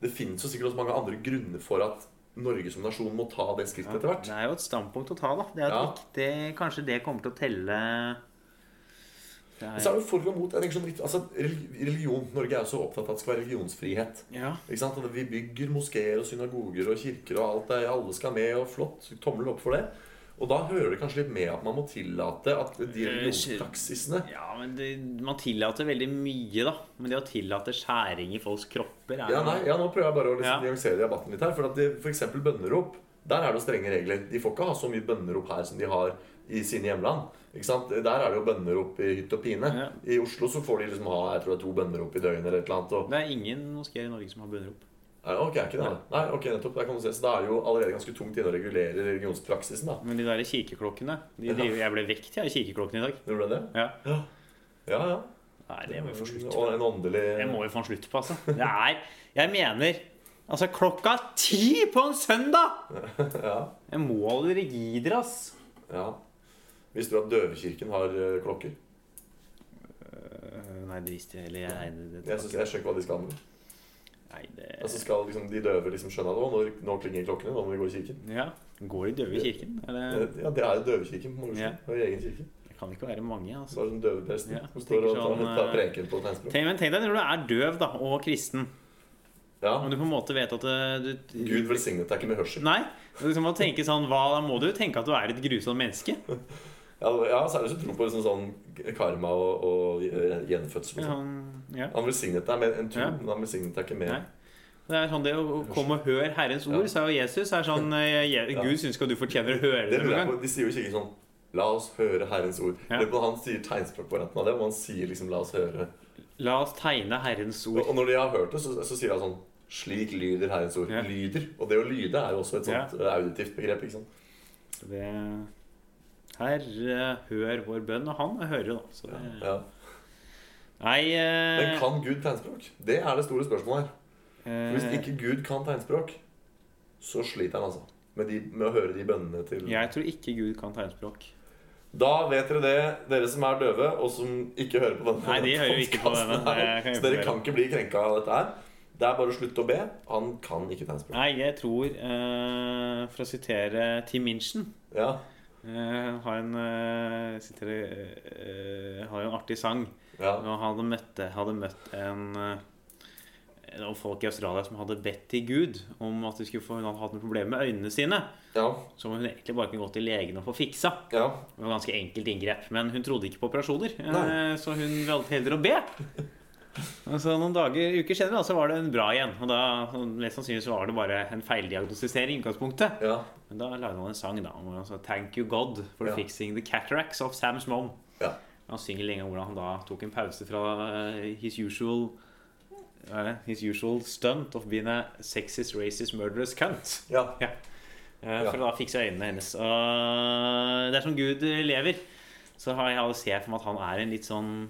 det finnes jo sikkert også mange andre grunner for at Norge som nasjon må ta det skrittet etter hvert. Det er jo et standpunkt å ta, da. Det er Ja. et viktig, kanskje det kommer til å telle det Men er, så er det jo for og mot. Jeg tenker sånn, litt- altså, relig- religion, Norge er jo så opptatt av at det skal være religionsfrihet. ja. Ikke sant? Og Vi bygger moskeer og synagoger og kirker og alt det. Alle skal med, og flott. Tommel opp for det. Og da hører det kanskje litt med at man må tillate at de religionspraksisene ja, men det, man tillater veldig mye, da. Men det å tillate skjæring i folks kropper er ja, nei, ja, nå prøver jeg bare å liksom Ja. nyansere debatten litt her. For at det- for eksempel bønnerop. Der er det jo strenge regler. De får ikke ha så mye bønnerop her som de har i sine hjemland. Ikke sant? Der er det jo bønnerop i hytt og pine. Ja. I Oslo så får de liksom ha jeg tror det er to bønnerop i døgnet eller et eller annet. Og Det er ingen moskeer i Norge som har bønnerop. Nei, ok, er ikke det, da? Nei, ok, nettopp, der kan du se. Så da er det jo allerede ganske tungt inne å regulere religionspraksisen. da Men de der kirkeklokkene de Ja. driver, Jeg ble vekt jeg, av kirkeklokkene i dag. Gjorde du det? Ja. Ja, ja. Nei, det må vi få slutt på. Og en åndelig Det må vi få en slutt på, altså. Det er Jeg mener Altså, klokka ti på en søndag! ja, Jeg må holde rigidere, ass. ja. Visste du at døvekirken har eh, klokker? Øh, Nei, det visste jeg eller jeg eide det Jeg, synes, jeg skjønner ikke hva de skal med. Nei, det Altså skal liksom, De døve liksom skjønne at å, nå, nå klinger klokkene, nå må vi gå i kirken. Ja. Går de døve i kirken? Eller Eh, Ja, Det er jo døvekirken på Magnusson. Ja. Det er egen kirke. Det kan ikke være mange, Så altså. det er sånn døvepresten Ja, som står og tenker tar, sånn, tar eh, preken på tegnspråk. Tenk, men tenk deg når du er døv da, og kristen, Ja. og du på en måte vet at eh, du Gud velsignet deg ikke med hørsel. Nei. Du liksom må tenke sånn hva, Da må du jo tenke at du er et grusomt menneske. Ja, det- ja Særlig hvis du tror på liksom, sånn karma og, og eh, gjenfødsel. og sånn. Sånn, ja. Han velsignet deg med en tro, Ja. men han velsignet deg ikke med Nei. Det er sånn det å å komme og høre Herrens Ja. ord, sa jo Jesus. er sånn, eh, Je- Gud syns ikke at du fortjener å høre det Det lurer jeg noen på, gang. De sier jo ikke sånn La oss høre Herrens ord. Ja. Eller på- Han sier tegnspråkvarianten av det, og han sier liksom La oss høre. La oss tegne Herrens Og ord. og når de har hørt det, så, så sier han sånn Slik lyder Herrens ord. Ja. Lyder. Og det å lyde er jo også et sånt eh, auditivt begrep. ikke sant? Det, Herre, hør vår bønn. Og han hører, da. Så det, Ja. nei Men eh, kan Gud tegnspråk? Det er det store spørsmålet her. For Hvis eh, ikke Gud kan tegnspråk, så sliter han altså. Med, de, med å høre de bønnene til Jeg tror ikke Gud kan tegnspråk. Da vet dere det, dere som er døve, og som ikke hører på denne Nei, de hører jo ikke på podcasten denne. her. Det kan jeg Så dere informere kan om. ikke bli krenka av dette her. Det er bare å slutte å be. Han kan ikke tegnspråk. Nei, jeg tror, eh, for å sitere Tim Minchin Ja. eh, har en, eh, sitere, eh, har jo en artig sang. ja. Og han hadde møtt, hadde møtt en, eh, noen folk i Australia som hadde bedt til Gud om at de skulle få, hun hadde hatt noen problemer med øynene sine. Ja. Som hun egentlig bare kunne gå til legen og få fiksa. ja. Det var ganske enkelt inngrep, men hun trodde ikke på operasjoner. eh, Nei. Så hun valgte heller å be. Og så noen dager, uker senere da, så var det en bra igjen. Og da, sånn, Mest sannsynlig så var det bare en feildiagnostisering. i utgangspunktet ja. Men da lagde han en sang da, om altså, Thank you God for Ja. fixing the cataracts of Sam's mom. Ja. Han synger lenge om hvordan han da tok en pause fra eh, his usual hva er det? His usual stunt of being a sexist, racist, murderous cunt. Ja. Eh, For Ja. da fikser jeg øynene hennes. Og dersom Gud lever, så har jeg ser jeg for meg at han er en litt sånn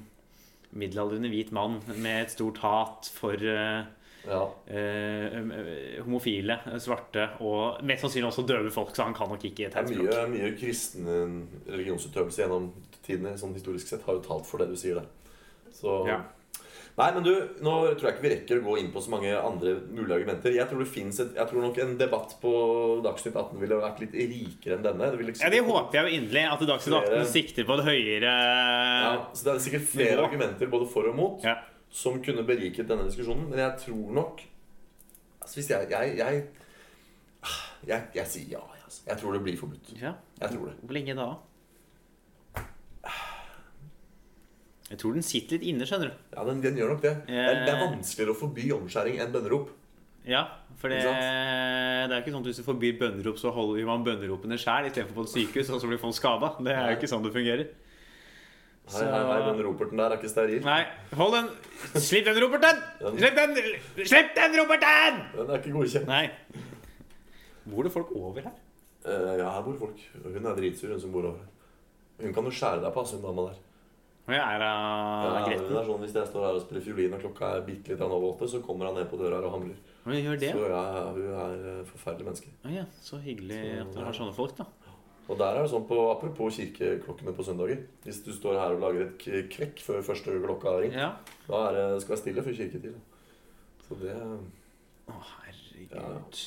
middelaldrende hvit mann med et stort hat for eh, ja. eh, um, eh, homofile, svarte og mest sannsynlig også døve folk, så han kan nok ikke Det er tegnspråk. mye, mye kristen religionsutøvelse gjennom tidene, sånn historisk sett, har jo talt for det du sier der. Så Ja. Nei, men du, nå tror jeg ikke vi rekker å gå inn på så mange andre mulige argumenter. Jeg tror, det finnes et, jeg tror nok en debatt på Dagsnytt 18 ville vært litt rikere enn denne. Det ville Ja, Det håper jeg jo inderlig, at Dagsnytt 18 Flere- sikter på et høyere Ja, så det er sikkert flere Eh, Nivå. argumenter både for og mot ja. som kunne beriket denne diskusjonen, men jeg tror nok altså Hvis jeg Jeg, jeg, jeg, jeg sier ja. jeg, Altså. Jeg tror det blir forbudt. ja. Jeg tror det. Hvor lenge da? Jeg tror den sitter litt inne, skjønner du. Ja, den, den gjør nok det. Det er, det er Eh. vanskeligere å forby omskjæring enn bønnerop. Ja, for det, det Ikke sant? er jo ikke sånn at hvis du forbyr bønnerop, så holder man bønneropene sjæl istedenfor på et sykehus, og så blir folk skada. Det er jo ikke sånn det fungerer. Hei, hei, hei, den roperten der er ikke steril. Nei, hold den! Slipp den, Roberten! Slipp den! Slipp den, Roberten! Den er ikke godkjent. Nei. Bor det folk over her? Eh, ja, her bor folk. Hun er dritsur, hun som bor over her. Hun kan jo skjære deg på, ass, hun dama der. Og jeg er av Ja, hun Gretten. er sånn, Hvis jeg står her og spiller fiolin, og klokka er bitte litt over åtte, så kommer han ned på døra og hamrer. Hva gjør det? Så ja, hun er et forferdelig menneske. Å ja, så hyggelig Så- at dere har sånne folk, da. Og der er det sånn på, Apropos kirkeklokkene på søndager. Hvis du står her og lager et k- kvekk før første klokka har ringt, Ja. da er det, skal det være stille før kirketid. Så det, Å, herregud.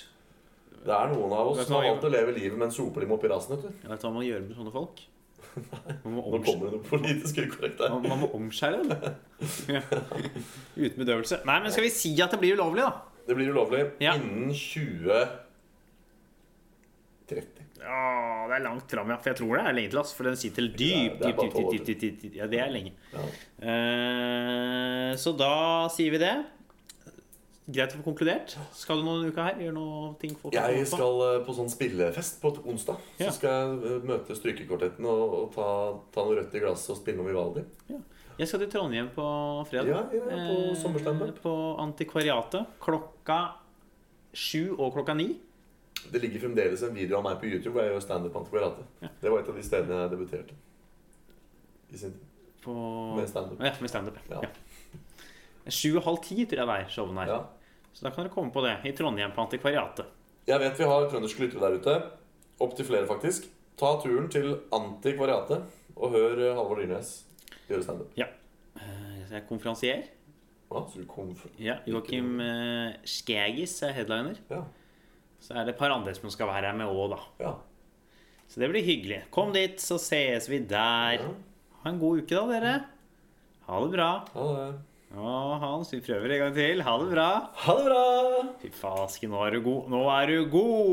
det er noen av oss Vet du som har hva, valgt å leve livet med en sopelim oppi rassen. vet du. Jeg vet hva man gjør med sånne folk. Man må, Nå omsk- kommer det noe politisk ukorrekt der. man, man må omskjære dem. Ja. Uten bedøvelse. Nei, men skal vi si at det blir ulovlig, da? Det blir ulovlig Ja. innen 2030. Ja, det er langt fram, ja. For jeg tror det er lenge til, ass. For den sitter Det er- dypt, det er dypt, bare dypt, tolv år dypt, dypt, dypt, dypt. Ja, det er lenge. Ja. Eh, så da sier vi det. Greit å få konkludert. Skal du noen uker her? Gjør noe ting folk har Jeg kommet på? skal eh, på sånn spillefest på et onsdag. Ja. Så skal jeg eh, møte strykekortetten og, og ta, ta noe rødt i glasset og spille noe Vivaldi. Jeg skal til Trondheim på fredag. Ja, ja, på Eh, sommerstandup. På Antikvariatet. Klokka sju og klokka ni. Det ligger fremdeles en video av meg på YouTube hvor jeg gjør standup antikvariatet. Det var et av de stedene jeg debuterte. I sin tid. På... Med standup. Ja, med standup. Ja. Ja. Sju og halv ti tror jeg det er showene her. Ja. Så da kan dere komme på det. I Trondheim på Antikvariatet. Jeg vet vi har trønderske lyttere der ute. Opptil flere, faktisk. Ta turen til Antikvariatet og hør eh, Halvor Dyrnes gjøre standup. Ja. Eh, Jeg er konferansier. Ja, så du kom fra- Ja. Joakim eh, Skægis er headliner. Ja. Så er det et par andre som skal være her med òg, da. ja. Så det blir hyggelig. Kom dit, så ses vi der. Ha en god uke, da, dere. Ha det bra. Ha det. Å, Hans, vi prøver en gang til. Ha det bra. Ha det bra! Fy fasken, nå er du god. Nå er du god!